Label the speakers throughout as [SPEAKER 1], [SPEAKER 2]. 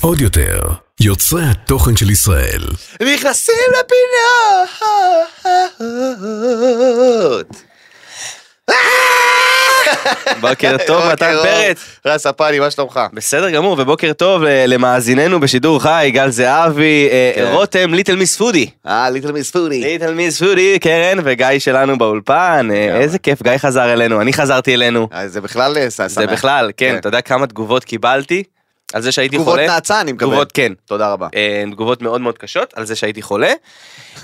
[SPEAKER 1] עוד יותר, יוצרי התוכן של ישראל.
[SPEAKER 2] נכנסים לפינות!
[SPEAKER 3] בוקר טוב,
[SPEAKER 2] בוקר
[SPEAKER 3] מתן
[SPEAKER 2] אור.
[SPEAKER 3] פרץ.
[SPEAKER 2] רז ספני, מה שלומך?
[SPEAKER 3] בסדר גמור, ובוקר טוב אה, למאזיננו בשידור חי, גל זהבי, אה,
[SPEAKER 2] כן.
[SPEAKER 3] רותם, ליטל מיס פודי.
[SPEAKER 2] אה, ליטל מיס פודי.
[SPEAKER 3] ליטל מיס פודי, קרן וגיא שלנו באולפן, אה,
[SPEAKER 2] לגמרי.
[SPEAKER 3] איזה כיף, גיא חזר אלינו, אני חזרתי אלינו.
[SPEAKER 2] זה בכלל אה, שמח.
[SPEAKER 3] זה בכלל, כן,
[SPEAKER 2] כן.
[SPEAKER 3] אתה יודע כמה תגובות קיבלתי על זה שהייתי
[SPEAKER 2] תגובות
[SPEAKER 3] חולה?
[SPEAKER 2] נאצה אני מקבל.
[SPEAKER 3] תגובות, כן.
[SPEAKER 2] תודה רבה.
[SPEAKER 3] אה, תגובות מאוד מאוד קשות על זה שהייתי חולה,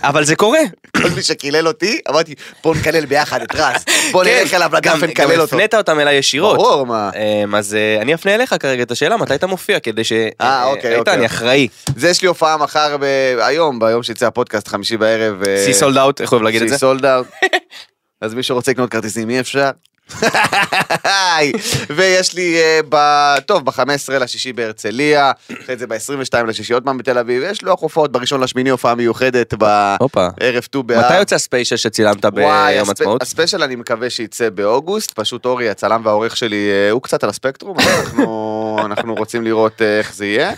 [SPEAKER 3] אבל זה קורה.
[SPEAKER 2] כל מי שקילל אותי, אמרתי, בוא נקלל ביחד את רז. בוא נלך
[SPEAKER 3] כן,
[SPEAKER 2] אליו לדף
[SPEAKER 3] גם-
[SPEAKER 2] ונקלל
[SPEAKER 3] גם
[SPEAKER 2] אותו.
[SPEAKER 3] הפנית אותם אליי ישירות.
[SPEAKER 2] ברור, מה.
[SPEAKER 3] אמ, אז אה, אני אפנה אליך כרגע את השאלה, מתי אתה מופיע, כדי ש... אה,
[SPEAKER 2] אוקיי,
[SPEAKER 3] איתן,
[SPEAKER 2] אוקיי.
[SPEAKER 3] אני אחראי.
[SPEAKER 2] זה יש לי הופעה מחר, ב- היום, ביום שיצא הפודקאסט, חמישי בערב. אה,
[SPEAKER 3] סי סולד אאוט, איך אוהב להגיד את
[SPEAKER 2] שהיא
[SPEAKER 3] זה?
[SPEAKER 2] סולד אאוט. אז מי שרוצה לקנות כרטיסים אי אפשר. ויש לי, אה, ב... טוב, ב-15 לשישי בהרצליה, אחרי זה ב-22 לשישי עוד פעם בתל אביב, יש לוח הופעות, בראשון לשמיני הופעה מיוחדת בערב
[SPEAKER 3] הופה.
[SPEAKER 2] ט"ו באב.
[SPEAKER 3] מתי יוצא הספיישל שצילמת
[SPEAKER 2] אה, וואי,
[SPEAKER 3] ביום
[SPEAKER 2] הספ-
[SPEAKER 3] עצמאות?
[SPEAKER 2] הספיישל אני מקווה שיצא באוגוסט, פשוט אורי הצלם והעורך שלי, אה, הוא קצת על הספקטרום, אז אנחנו- אנחנו רוצים לראות אה, איך זה יהיה.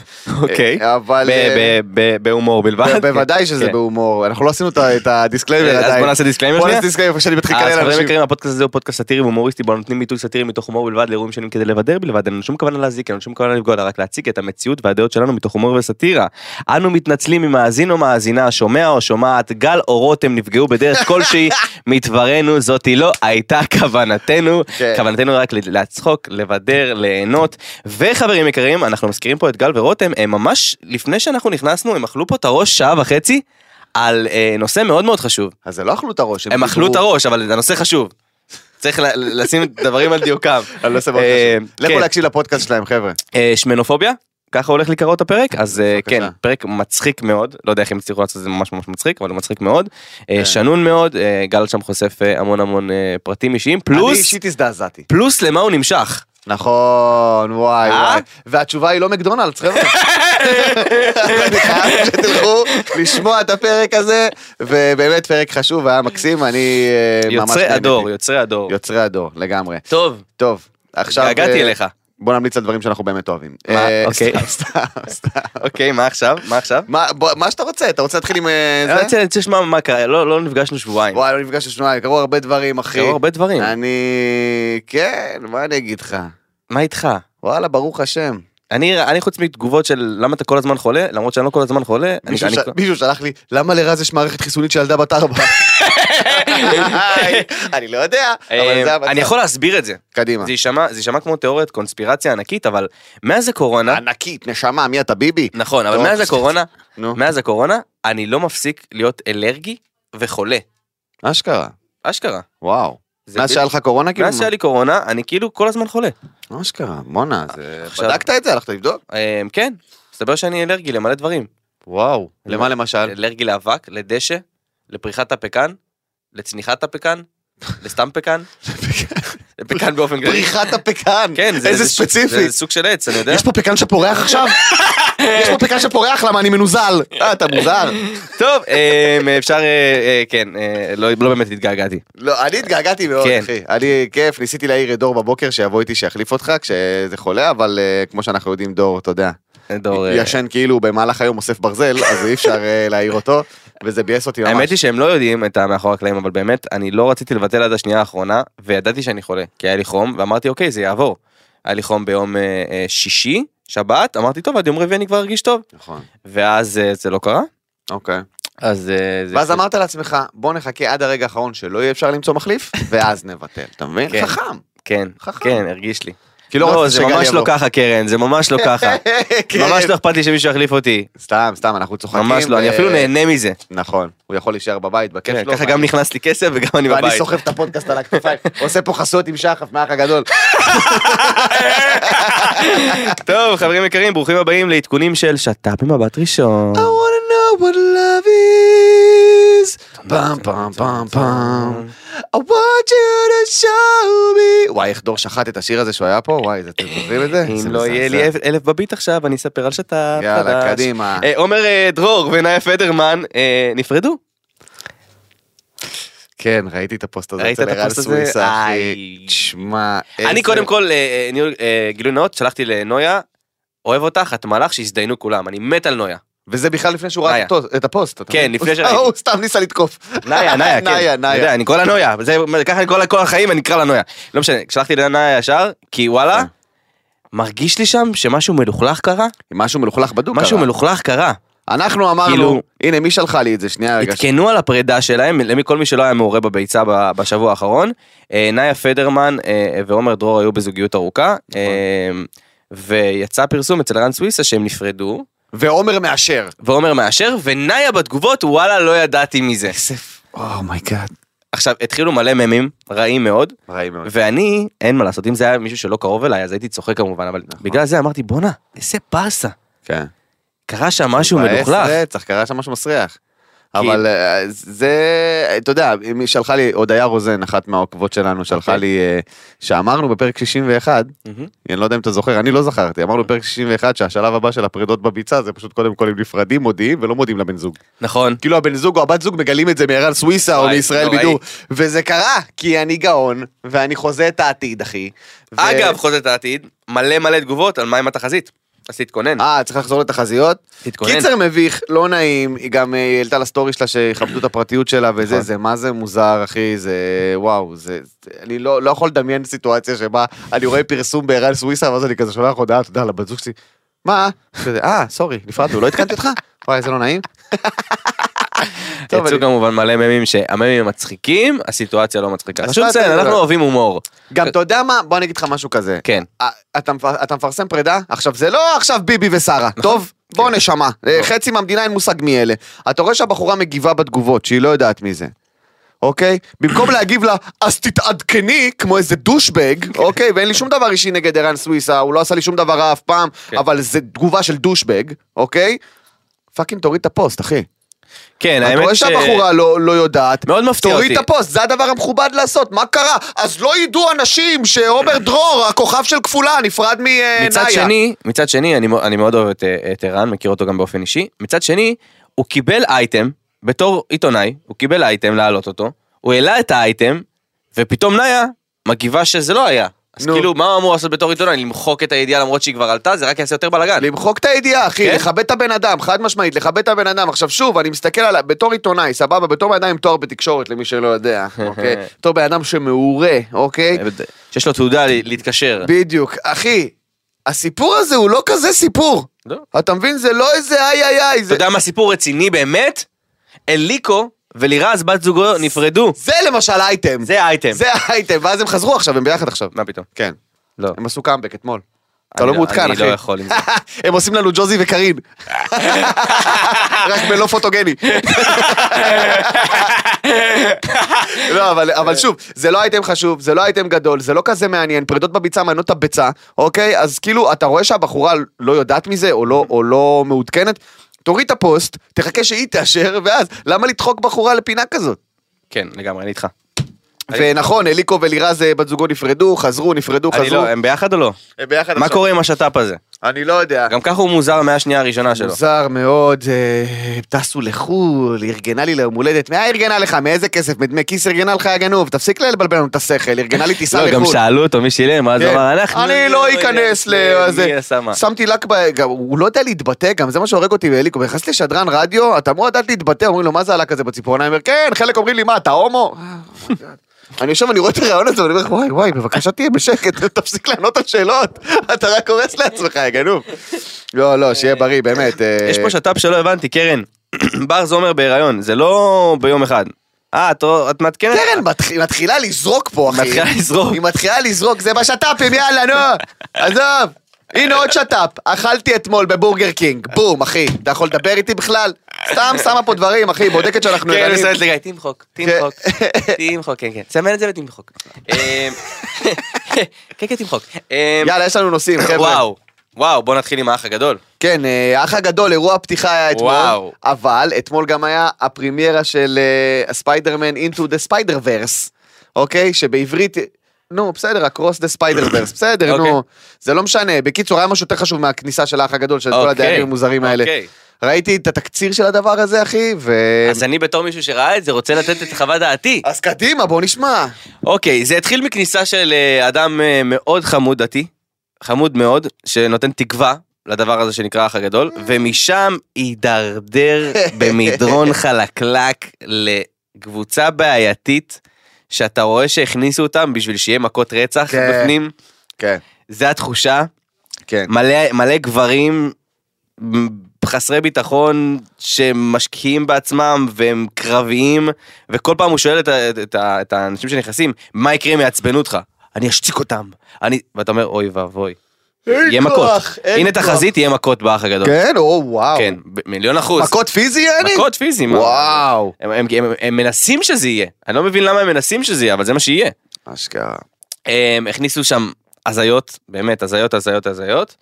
[SPEAKER 3] אוקיי.
[SPEAKER 2] אה, אבל...
[SPEAKER 3] ב-
[SPEAKER 2] אה,
[SPEAKER 3] ב- ב- בהומור בלבד?
[SPEAKER 2] ב- בוודאי שזה
[SPEAKER 3] כן.
[SPEAKER 2] בהומור, אנחנו לא עשינו את ה- את הדיסקליימר
[SPEAKER 3] אה,
[SPEAKER 2] עדיין.
[SPEAKER 3] אז בוא נעשה דיסקליימר
[SPEAKER 2] בוא
[SPEAKER 3] שנייה.
[SPEAKER 2] נעשה דיסקליימר לפני שאני מתחיל
[SPEAKER 3] אה, אז
[SPEAKER 2] לקלל
[SPEAKER 3] חברים
[SPEAKER 2] אנשים.
[SPEAKER 3] יקרים, הפודקאסט הזה הוא פודקאסט סאטירי והומוריסטי, בו נותנים ביטוי סאטירי מתוך הומור בלבד לאירועים שונים כדי לבדר בלבד, אין לנו שום כוונה להזיק, אין לנו שום כוונה לפגוע, אלא רק להציג את המציאות והדעות שלנו מתוך הומור וסאטירה. אנו מתנצלים אם מאזין או מאזינה, שומע או שומעת, גל או רותם נפגעו בדרך כלשהי, מדברנו זאתי לא הייתה כוונתנו,
[SPEAKER 2] כן.
[SPEAKER 3] כוונתנו רק ל- לצחוק, לבדר, ליהנות. וחברים יקרים, אנחנו מזכירים פה את גל ורותם, הם ממש, לפני שאנחנו נכנסנו, הם אכלו פה את הראש שעה וחצי על אה, נושא מאוד מאוד חשוב.
[SPEAKER 2] אז זה לא אכלו את הראש,
[SPEAKER 3] הם אכלו את
[SPEAKER 2] דיברו
[SPEAKER 3] הראש, אבל הנושא חשוב. צריך ל- לשים דברים על דיוקם.
[SPEAKER 2] על נושא מאוד
[SPEAKER 3] אה,
[SPEAKER 2] חשוב. לכו
[SPEAKER 3] כן.
[SPEAKER 2] להקשיב לפודקאסט שלהם חבר'ה.
[SPEAKER 3] אה, שמנופוביה? ככה הולך לקרות הפרק, אז אה,
[SPEAKER 2] בבקשה.
[SPEAKER 3] כן, פרק מצחיק מאוד, לא יודע איך הם הצליחו לעשות את זה ממש ממש מצחיק, אבל הוא מצחיק מאוד, אה,
[SPEAKER 2] כן.
[SPEAKER 3] שנון מאוד, אה, גל שם חושף אה, המון המון אה, פרטים אישיים,
[SPEAKER 2] אני
[SPEAKER 3] פלוס,
[SPEAKER 2] אישית הזדעזעתי.
[SPEAKER 3] פלוס למה הוא נמשך.
[SPEAKER 2] נכון, וואי
[SPEAKER 3] אה?
[SPEAKER 2] וואי. והתשובה היא לא מקדונלדס חבר'ה. אני חייב שתלכו לשמוע את הפרק הזה, ובאמת פרק חשוב והיה מקסים, אני אה, ממש
[SPEAKER 3] יוצרי
[SPEAKER 2] נהניתי.
[SPEAKER 3] הדור, יוצרי הדור.
[SPEAKER 2] יוצרי הדור, לגמרי.
[SPEAKER 3] טוב,
[SPEAKER 2] טוב, עכשיו...
[SPEAKER 3] התגעגעתי
[SPEAKER 2] אה,
[SPEAKER 3] אליך.
[SPEAKER 2] בוא נמליץ על דברים שאנחנו באמת אוהבים.
[SPEAKER 3] מה?
[SPEAKER 2] אה,
[SPEAKER 3] אוקיי.
[SPEAKER 2] סתם, סתם, סתם.
[SPEAKER 3] אוקיי, מה עכשיו? מה עכשיו?
[SPEAKER 2] מה- בוא- מה שאתה רוצה, אתה רוצה להתחיל עם אה,
[SPEAKER 3] אני
[SPEAKER 2] זה?
[SPEAKER 3] רוצה- אני רוצה לשמוע מה קרה, לא לא נפגשנו שבועיים.
[SPEAKER 2] וואי, לא נפגשנו שניים, קרו הרבה דברים, אחי.
[SPEAKER 3] קרו הרבה דברים.
[SPEAKER 2] אני... כן, מה אני אגיד לך?
[SPEAKER 3] מה איתך?
[SPEAKER 2] וואלה, ברוך השם.
[SPEAKER 3] אני, אני חוץ מתגובות של למה אתה כל הזמן חולה, למרות שאני לא כל הזמן חולה, אני,
[SPEAKER 2] מישהו
[SPEAKER 3] אני,
[SPEAKER 2] ש- מישהו שלח לי, למה לרז יש מערכת חיסונית של ילדה בת ארבע? היי, אני לא יודע, אבל זה
[SPEAKER 3] אה,
[SPEAKER 2] המצב.
[SPEAKER 3] אני יכול להסביר את זה.
[SPEAKER 2] קדימה.
[SPEAKER 3] זה יישמע, זה יישמע כמו תיאוריית קונספירציה ענקית, אבל מאז הקורונה,
[SPEAKER 2] ענקית, נשמה, מי אתה, ביבי?
[SPEAKER 3] נכון, אבל
[SPEAKER 2] לא, אוקיי.
[SPEAKER 3] מאז
[SPEAKER 2] אז-
[SPEAKER 3] הקורונה,
[SPEAKER 2] נו,
[SPEAKER 3] מאז הקורונה, אני לא מפסיק להיות אלרגי וחולה.
[SPEAKER 2] אשכרה,
[SPEAKER 3] אשכרה.
[SPEAKER 2] וואו.
[SPEAKER 3] זה
[SPEAKER 2] מאז
[SPEAKER 3] ב-
[SPEAKER 2] שהיה לך קורונה כאילו?
[SPEAKER 3] מאז שהיה לי קורונה, אני כאילו כל הזמן חולה.
[SPEAKER 2] אשכרה, בואנה, זה-
[SPEAKER 3] אה, עכשיו-
[SPEAKER 2] בדקת את זה? הלכת לבדוק?
[SPEAKER 3] אה, כן, מסתבר שאני אלרגי למלא דברים.
[SPEAKER 2] וואו. למה
[SPEAKER 3] למה?
[SPEAKER 2] למשל?
[SPEAKER 3] אלרגי לאבק, לדשא, לפריחת הפקן, לצניחת הפקן, לסתם פקן, לפקן באופן כללי.
[SPEAKER 2] פריחת הפקן.
[SPEAKER 3] כן, זה-
[SPEAKER 2] איזה
[SPEAKER 3] זה-
[SPEAKER 2] ספציפי.
[SPEAKER 3] זה סוג של עץ, אני יודע.
[SPEAKER 2] יש פה פקן שפורח עכשיו? יש פה פקן שפורח, למה אני מנוזל? אה, אתה מוזר.
[SPEAKER 3] טוב, אמ, אפשר, אה, אה, כן, אה, לא לא באמת התגעגעתי.
[SPEAKER 2] לא, אני התגעגעתי מאוד,
[SPEAKER 3] כן.
[SPEAKER 2] אחי. אני, כיף, ניסיתי להעיר את דור בבוקר שיבוא איתי שיחליף אותך כשזה חולה, אבל אה, כמו שאנחנו יודעים, דור, אתה יודע,
[SPEAKER 3] דור, אה,
[SPEAKER 2] ישן כאילו במהלך היום אוסף ברזל, אז אי אפשר אה, להעיר אותו, וזה ביאס אותי ממש.
[SPEAKER 3] האמת היא שהם לא יודעים את המאחורי הקלעים, אבל באמת, אני לא רציתי לבטל עד השנייה האחרונה, וידעתי שאני חולה, כי היה לי חום, ואמרתי, אוקיי, זה יעבור. היה לי חום ביום אה, אה, שישי, שבת, אמרתי, טוב, עד יום רביעי אני כבר ארגיש טוב.
[SPEAKER 2] נכון,
[SPEAKER 3] ואז אה, זה לא קרה,
[SPEAKER 2] אוקיי.
[SPEAKER 3] אז... אה, זה-
[SPEAKER 2] ואז אמרת לעצמך, בוא נחכה עד הרגע האחרון שלא יהיה אפשר למצוא מחליף, ואז נבטל, אתה מבין?
[SPEAKER 3] כן.
[SPEAKER 2] חכם.
[SPEAKER 3] כן,
[SPEAKER 2] חכם.
[SPEAKER 3] כן, הרגיש לי.
[SPEAKER 2] כי לא
[SPEAKER 3] לא,
[SPEAKER 2] רצית
[SPEAKER 3] זה
[SPEAKER 2] שגל
[SPEAKER 3] ממש לא
[SPEAKER 2] יבוא.
[SPEAKER 3] ככה, קרן, זה ממש לא ככה.
[SPEAKER 2] כן.
[SPEAKER 3] ממש לא אכפת לי שמישהו יחליף אותי.
[SPEAKER 2] סתם, סתם, אנחנו צוחקים.
[SPEAKER 3] ממש
[SPEAKER 2] ו-
[SPEAKER 3] לא, אני אפילו נהנה מזה.
[SPEAKER 2] נכון, הוא יכול להישאר בבית, בכיף
[SPEAKER 3] כן,
[SPEAKER 2] שלו.
[SPEAKER 3] ככה גם נכנס לי כסף וגם אני בבית.
[SPEAKER 2] ואני סוחב את הפודקאסט על הכתפיים, עושה פה חסות עם שחף מהאח הגדול.
[SPEAKER 3] טוב, חברים יקרים, ברוכים הבאים לעדכונים של שת"פ עם מבט ראשון.
[SPEAKER 2] I wanna know what love is. פעם פעם פעם פעם. I want you to show me. וואי, איך דור שחט את השיר הזה שהוא היה פה? וואי, זה- אתם זוכרים את זה? זה
[SPEAKER 3] אם לא יהיה לי
[SPEAKER 2] מזעזע.
[SPEAKER 3] אלף- אלף בביט עכשיו, אני אספר על שת"פ חדש.
[SPEAKER 2] יאללה, קדימה.
[SPEAKER 3] אה, עומר אה, דרור ונאיה פדרמן אה, נפרדו.
[SPEAKER 2] כן, ראיתי את הפוסט הזה
[SPEAKER 3] ראית
[SPEAKER 2] אצל
[SPEAKER 3] את
[SPEAKER 2] ערן
[SPEAKER 3] הפוסט הזה?
[SPEAKER 2] סוויסה, אחי.
[SPEAKER 3] איי.
[SPEAKER 2] תשמע,
[SPEAKER 3] אני קודם כל, אה, אה, ניהול, אה, גילוי נאות, שלחתי לנויה, אוהב אותך, את מלאך שהזדיינו כולם, אני מת על נויה.
[SPEAKER 2] וזה בכלל לפני שהוא ראה
[SPEAKER 3] נאיה.
[SPEAKER 2] את הפוסט- את הפוסט. אתה
[SPEAKER 3] כן,
[SPEAKER 2] מבין?
[SPEAKER 3] לפני
[SPEAKER 2] הוא-
[SPEAKER 3] שראיתי.
[SPEAKER 2] הוא סתם ניסה לתקוף.
[SPEAKER 3] נאיה, נאיה, כן.
[SPEAKER 2] נאיה,
[SPEAKER 3] אתה יודע,
[SPEAKER 2] נאיה.
[SPEAKER 3] אני קורא לה נויה, זה- ככה אני קורא לה כל החיים, אני אקרא לה נויה. לא משנה, שלחתי לנויה ישר, כי וואלה,
[SPEAKER 2] כן.
[SPEAKER 3] מרגיש לי שם שמשהו מלוכלך קרה,
[SPEAKER 2] משהו מלוכלך בדוק.
[SPEAKER 3] משהו
[SPEAKER 2] קרה.
[SPEAKER 3] מלוכלך קרה.
[SPEAKER 2] אנחנו אמרנו,
[SPEAKER 3] כאילו- כן.
[SPEAKER 2] הנה מי שלחה לי את זה, שנייה רגע.
[SPEAKER 3] עדכנו על הפרידה שלהם, למי כל מי שלא היה מעורה בביצה ב- בשבוע האחרון. אה, נאיה פדרמן אה, ועומר דרור היו בזוגיות ארוכה, אה, ויצא פרסום אצל רן סוויסה שהם נפרדו,
[SPEAKER 2] ועומר מאשר.
[SPEAKER 3] ועומר מאשר, ונאיה בתגובות, וואלה, לא ידעתי מזה. Oh
[SPEAKER 2] אומייגאד.
[SPEAKER 3] עכשיו, התחילו מלא ממים, רעים מאוד,
[SPEAKER 2] רעים מאוד.
[SPEAKER 3] ואני, אין מה לעשות, אם זה היה מישהו שלא קרוב אליי, אז הייתי צוחק כמובן, אבל בגלל זה אמרתי, בואנה, איזה פאסה.
[SPEAKER 2] כן.
[SPEAKER 3] קרה שם משהו
[SPEAKER 2] מבאס
[SPEAKER 3] מלוכלך.
[SPEAKER 2] רצח, קרה שם משהו מסריח. אבל אה, זה, אתה יודע, מי שלחה לי, הודיה רוזן, אחת מהעוקבות שלנו, שלחה
[SPEAKER 3] אוקיי. Mm.
[SPEAKER 2] לי, אה, שאמרנו בפרק 61,
[SPEAKER 3] מהמם.
[SPEAKER 2] אני לא יודע אם אתה זוכר, אני לא זכרתי,
[SPEAKER 3] Mm.
[SPEAKER 2] אמרנו בפרק 61 שהשלב הבא של הפרידות בביצה זה פשוט קודם כל הם נפרדים, מודיעים ולא מודיעים לבן זוג.
[SPEAKER 3] נכון.
[SPEAKER 2] כאילו הבן זוג או הבת זוג מגלים את זה מערן סוויסה או
[SPEAKER 3] וואי,
[SPEAKER 2] מישראל
[SPEAKER 3] נוראי.
[SPEAKER 2] בידור, וזה קרה, כי אני גאון, ואני חוזה את העתיד, אחי. ו-
[SPEAKER 3] אגב, חוזת העתיד, מלא מלא תגובות על מה עם התחזית. אז תתכונן.
[SPEAKER 2] אה, צריך לחזור לתחזיות?
[SPEAKER 3] תתכונן.
[SPEAKER 2] קיצר מביך, לא נעים, היא גם אה, העלתה לסטורי שלה שיכבדו את הפרטיות שלה וזה,
[SPEAKER 3] נכון.
[SPEAKER 2] זה מה זה מוזר אחי, זה וואו, זה, זה- אני לא לא יכול לדמיין סיטואציה שבה אני רואה פרסום בערן סוויסה ואז אני כזה שולח הודעה, אתה יודע, לבת זוג שלי, מה? כזה, אה, סורי, נפרדנו, לא עדכנתי אותך? וואי, זה לא נעים. טוב,
[SPEAKER 3] יצאו
[SPEAKER 2] אני-
[SPEAKER 3] כמובן מלא ממים שהממים הם מצחיקים, הסיטואציה לא מצחיקה.
[SPEAKER 2] אז
[SPEAKER 3] חשוב
[SPEAKER 2] מה אתה
[SPEAKER 3] לציין,
[SPEAKER 2] מדבר?
[SPEAKER 3] אנחנו אוהבים הומור. אה,
[SPEAKER 2] גם אתה יודע מה? בוא אני אגיד לך משהו כזה.
[SPEAKER 3] כן.
[SPEAKER 2] אה, אתה מפ- אתה מפרסם פרידה? עכשיו, זה לא עכשיו ביבי ושרה, טוב? בוא נשמה, אה, חצי מהמדינה אין מושג מי אלה. אתה רואה שהבחורה מגיבה בתגובות, שהיא לא יודעת מי זה. אוקיי? במקום להגיב לה, אז תתעדכני, כמו איזה דושבג, אוקיי? ואין לי שום דבר אישי נגד ערן סוויסה, הוא לא עשה לי שום דבר רע אף פעם, אבל זה תגובה של דושבג, אוקיי? פאקינג תוריד את הפוסט, אחי.
[SPEAKER 3] כן,
[SPEAKER 2] אתה רואה
[SPEAKER 3] האמת ש...
[SPEAKER 2] שהבחורה לא לא יודעת.
[SPEAKER 3] מאוד מפתיע
[SPEAKER 2] תוריד את
[SPEAKER 3] אותי.
[SPEAKER 2] הפוסט, זה הדבר המכובד לעשות, מה קרה? אז לא ידעו אנשים שעומר דרור, הכוכב של כפולה, נפרד אה, מנאיה.
[SPEAKER 3] מצד שני, מצד שני, אני מ- אני מאוד אוהב את, אה, את ערן, מכיר אותו גם באופן אישי. מצד שני, הוא קיבל אייטם, בתור עיתונאי, הוא קיבל אייטם להעלות אותו, הוא העלה את האייטם, ופתאום נאיה מגיבה שזה לא היה. אז
[SPEAKER 2] נו.
[SPEAKER 3] כאילו, מה הוא אמור לעשות בתור עיתונאי? למחוק את הידיעה למרות שהיא כבר עלתה? זה רק יעשה יותר בלאגן.
[SPEAKER 2] למחוק את הידיעה, אחי,
[SPEAKER 3] כן?
[SPEAKER 2] לכבד את הבן אדם, חד משמעית, לכבד את הבן אדם. עכשיו שוב, אני מסתכל על, ה- בתור עיתונאי, סבבה, בתור בן אדם עם תואר בתקשורת, למי שלא יודע, אוקיי? בתור בן אדם שמעורה, אוקיי?
[SPEAKER 3] שיש לו תעודה ל- להתקשר.
[SPEAKER 2] בדיוק. אחי, הסיפור הזה הוא לא כזה סיפור.
[SPEAKER 3] לא.
[SPEAKER 2] אתה מבין? זה לא איזה איי איי איי,
[SPEAKER 3] אתה
[SPEAKER 2] זה...
[SPEAKER 3] יודע מה סיפור רציני באמת? אליקו ולירז בת זוגו נפרדו.
[SPEAKER 2] זה למשל אייטם.
[SPEAKER 3] זה האייטם.
[SPEAKER 2] זה האייטם, ואז הם חזרו עכשיו, הם ביחד עכשיו.
[SPEAKER 3] מה פתאום?
[SPEAKER 2] כן.
[SPEAKER 3] לא.
[SPEAKER 2] הם עשו קאמבק אתמול. אתה
[SPEAKER 3] אני
[SPEAKER 2] לא מעודכן,
[SPEAKER 3] אני
[SPEAKER 2] אחי.
[SPEAKER 3] לא יכול עם זה.
[SPEAKER 2] הם עושים לנו ג'וזי וקארין. רק בלא פוטוגני. לא, אבל, אבל שוב, זה לא אייטם חשוב, זה לא אייטם גדול, זה לא כזה מעניין, פרידות בביצה מעניינות את הביצה, אוקיי? אז כאילו, אתה רואה שהבחורה לא יודעת מזה, או לא, או לא מעודכנת, תוריד את הפוסט, תחכה שהיא תאשר, ואז, למה לדחוק בחורה לפינה כזאת?
[SPEAKER 3] כן, לגמרי, אני איתך.
[SPEAKER 2] ונכון, אליקו ולירז אה, בת זוגו נפרדו, חזרו, נפרדו,
[SPEAKER 3] אני
[SPEAKER 2] חזרו.
[SPEAKER 3] לא, הם ביחד או לא?
[SPEAKER 2] הם ביחד
[SPEAKER 3] מה קורה עם השת"פ הזה?
[SPEAKER 2] אני לא יודע.
[SPEAKER 3] גם ככה הוא מוזר מהשנייה הראשונה שלו.
[SPEAKER 2] מוזר מאוד, אה, טסו לחו"ל, ארגנה לי ליום הולדת, מה ארגנה לך? מאיזה כסף? מדמי כיס ארגנה לך היה גנוב, תפסיק לבלבל לנו את השכל, ארגנה לי טיסה
[SPEAKER 3] לא,
[SPEAKER 2] לחו"ל.
[SPEAKER 3] גם שאלו אותו מי שילם, אז הוא
[SPEAKER 2] כן.
[SPEAKER 3] אמר, אנחנו...
[SPEAKER 2] אני לא אכנס
[SPEAKER 3] מי
[SPEAKER 2] לזה.
[SPEAKER 3] עשה מה?
[SPEAKER 2] שמתי לק ב... גם- הוא לא יודע להתבטא, גם זה מה שהורג אותי באליקו. נכנס לשדרן רדיו, אתה אמור לדעת להתבטא, אומרים לו, מה זה הלק הזה בציפורניים? אומר, כן, חלק אומרים לי, מה, אתה הומו? אה, אומייגאד. אני יושב, אני רואה את הרעיון הזה, ואני אומר, וואי, וואי, בבקשה תהיה בשקט, תפסיק לענות על שאלות, אתה רק הורס לעצמך, יא גנוב. לא, לא, שיהיה בריא, באמת. אה,
[SPEAKER 3] יש פה שת"פ שלא הבנתי, קרן. בר זומר בהיריון, זה לא ביום אחד. אה, את- את מעדכנת?
[SPEAKER 2] קרן מתח- מתחילה לזרוק פה, אחי.
[SPEAKER 3] מתחילה לזרוק.
[SPEAKER 2] היא מתחילה לזרוק, זה בשת"פים, יאללה, נו. עזוב. הנה עוד שת"פ, אכלתי אתמול בבורגר קינג, בום, אחי. אתה יכול לדבר איתי בכלל? סתם שמה פה דברים, אחי, בודקת שאנחנו
[SPEAKER 3] כן,
[SPEAKER 2] ערניים.
[SPEAKER 3] מסתכלת לגיא, תמחוק,
[SPEAKER 2] כן.
[SPEAKER 3] תמחוק, תמחוק, כן, כן. סמן את זה ותמחוק. אמ, כן, כן, תמחוק. אמ,
[SPEAKER 2] יאללה, יש לנו נושאים, חבר'ה.
[SPEAKER 3] וואו, וואו, בוא נתחיל עם האח הגדול.
[SPEAKER 2] כן, אה, האח הגדול, אירוע הפתיחה היה אתמול.
[SPEAKER 3] וואו.
[SPEAKER 2] אבל אתמול גם היה הפרימיירה של אה, הספיידרמן into the spider verse, אוקיי? שבעברית... נו, בסדר, across the spider verse, בסדר,
[SPEAKER 3] אוקיי.
[SPEAKER 2] נו. זה לא משנה. בקיצור, היה משהו יותר חשוב מהכניסה של האח הגדול, של כל
[SPEAKER 3] אוקיי,
[SPEAKER 2] הדיירים המוזרים האלה.
[SPEAKER 3] אוקיי.
[SPEAKER 2] ראיתי את התקציר של הדבר הזה, אחי, ו...
[SPEAKER 3] אז אני בתור מישהו שראה את זה רוצה לתת את חוות דעתי.
[SPEAKER 2] אז קדימה, בוא נשמע.
[SPEAKER 3] אוקיי, זה התחיל מכניסה של אה, אדם אה, מאוד חמוד דתי, חמוד מאוד, שנותן תקווה לדבר הזה שנקרא האח הגדול, ומשם הידרדר במדרון חלקלק לקבוצה בעייתית, שאתה רואה שהכניסו אותם בשביל שיהיה מכות רצח
[SPEAKER 2] כן.
[SPEAKER 3] בפנים.
[SPEAKER 2] כן,
[SPEAKER 3] זה התחושה,
[SPEAKER 2] כן.
[SPEAKER 3] מלא, מלא גברים חסרי ביטחון שמשקיעים בעצמם והם קרביים וכל פעם הוא שואל את, ה- את, את, ה- את האנשים שנכנסים מה יקרה אם יעצבנו אותך אני אשתיק אותם אני ואתה אומר אוי ואבוי יהיה מכות הנה תחזית יהיה מכות באח הגדול
[SPEAKER 2] כן, או וואו.
[SPEAKER 3] כן ב- מיליון אחוז
[SPEAKER 2] מכות פיזי, יעני?
[SPEAKER 3] מכות פיזי מה?
[SPEAKER 2] וואו.
[SPEAKER 3] הם, הם, הם, הם מנסים שזה יהיה אני לא מבין למה הם מנסים שזה יהיה אבל זה מה שיהיה
[SPEAKER 2] אשכרה.
[SPEAKER 3] הם אמ, הכניסו שם הזיות, באמת, הזיות, הזיות, הזיות.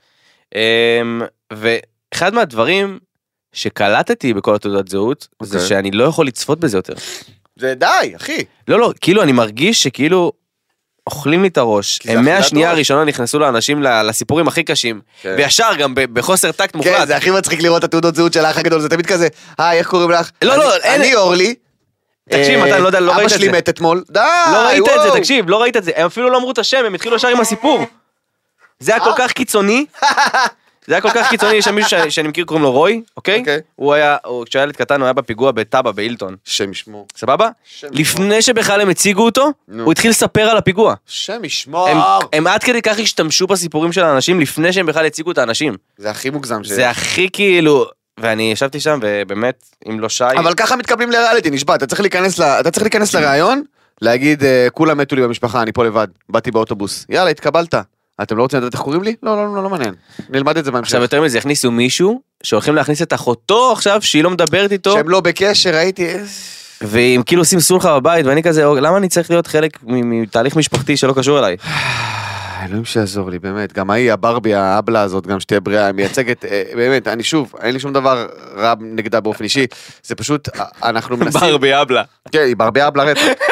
[SPEAKER 3] הם, ואחד מהדברים שקלטתי בכל התעודת זהות, okay. זה
[SPEAKER 2] אוקיי.
[SPEAKER 3] שאני לא יכול לצפות בזה יותר.
[SPEAKER 2] זה די, אחי.
[SPEAKER 3] לא, לא, כאילו אני מרגיש שכאילו אוכלים לי את הראש.
[SPEAKER 2] כי זה
[SPEAKER 3] הם
[SPEAKER 2] אכילת
[SPEAKER 3] מהשנייה
[SPEAKER 2] ראש.
[SPEAKER 3] הראשונה נכנסו לאנשים ל- לסיפורים הכי קשים,
[SPEAKER 2] כן.
[SPEAKER 3] וישר גם ב- בחוסר טקט
[SPEAKER 2] כן,
[SPEAKER 3] מוחלט.
[SPEAKER 2] זה הכי מצחיק לראות את התעודות זהות של האח הגדול, זה תמיד כזה, היי, איך קוראים לך?
[SPEAKER 3] לא, לא,
[SPEAKER 2] אני-
[SPEAKER 3] אין-
[SPEAKER 2] אני אורלי.
[SPEAKER 3] תקשיב,
[SPEAKER 2] אה,
[SPEAKER 3] מתן, לא יודע, לא ראית את
[SPEAKER 2] אבא שלי
[SPEAKER 3] זה.
[SPEAKER 2] מת אתמול. די,
[SPEAKER 3] לא ראית את
[SPEAKER 2] אה, וואו.
[SPEAKER 3] זה, תקשיב, לא ראית את זה. הם אפילו לא אמרו את השם, הם התחילו ישר עם הסיפור. זה היה כל
[SPEAKER 2] אה.
[SPEAKER 3] כך קיצוני. זה היה כל כך קיצוני, יש שם מישהו שאני- שאני מכיר, קוראים לו רוי, אוקיי?
[SPEAKER 2] אוקיי.
[SPEAKER 3] הוא היה, הוא- כשהיה ילד קטן, הוא היה בפיגוע בטאבה, בהילטון.
[SPEAKER 2] שם ישמור.
[SPEAKER 3] סבבה?
[SPEAKER 2] שם
[SPEAKER 3] לפני שבכלל הם הציגו אותו,
[SPEAKER 2] נו.
[SPEAKER 3] הוא התחיל לספר על הפיגוע.
[SPEAKER 2] שם ישמור.
[SPEAKER 3] הם- הם עד כדי כך השתמשו בסיפורים של האנשים לפני שהם בכלל הציגו את האנשים.
[SPEAKER 2] זה הכי מוגזם ש...
[SPEAKER 3] זה הכי כאילו... ואני ישבתי שם, ובאמת, אם לא שי...
[SPEAKER 2] אבל ככה מתקבלים לריאליטי, נשבע, אתה צריך להיכנס ל- אתה צריך להיכנס לראיון, להגיד, אה, כולם מתו לי במשפחה, אני פה לבד, באתי באוטובוס. יאללה, התקבלת. אתם לא רוצים לדעת איך קוראים לי? לא, לא, לא, לא מעניין. נלמד את זה בהמשך.
[SPEAKER 3] עכשיו יותר מזה, הכניסו מישהו שהולכים להכניס את אחותו עכשיו, שהיא לא מדברת איתו.
[SPEAKER 2] שהם לא בקשר, הייתי...
[SPEAKER 3] ואם כאילו עושים סולחה בבית ואני כזה "אוקיי, למה אני צריך להיות חלק מ- מתהליך משפחתי שלא קשור אליי.
[SPEAKER 2] אלוהים שיעזור לי, באמת. גם ההיא, הברבי, האבלה הזאת, גם שתהיה בריאה, היא מייצגת, אה, באמת, אני שוב, אין לי שום דבר רע נגדה באופן אישי, זה פשוט, אה, אנחנו מנסים...
[SPEAKER 3] אבלה.
[SPEAKER 2] כן, היא ברביעה בלרצח.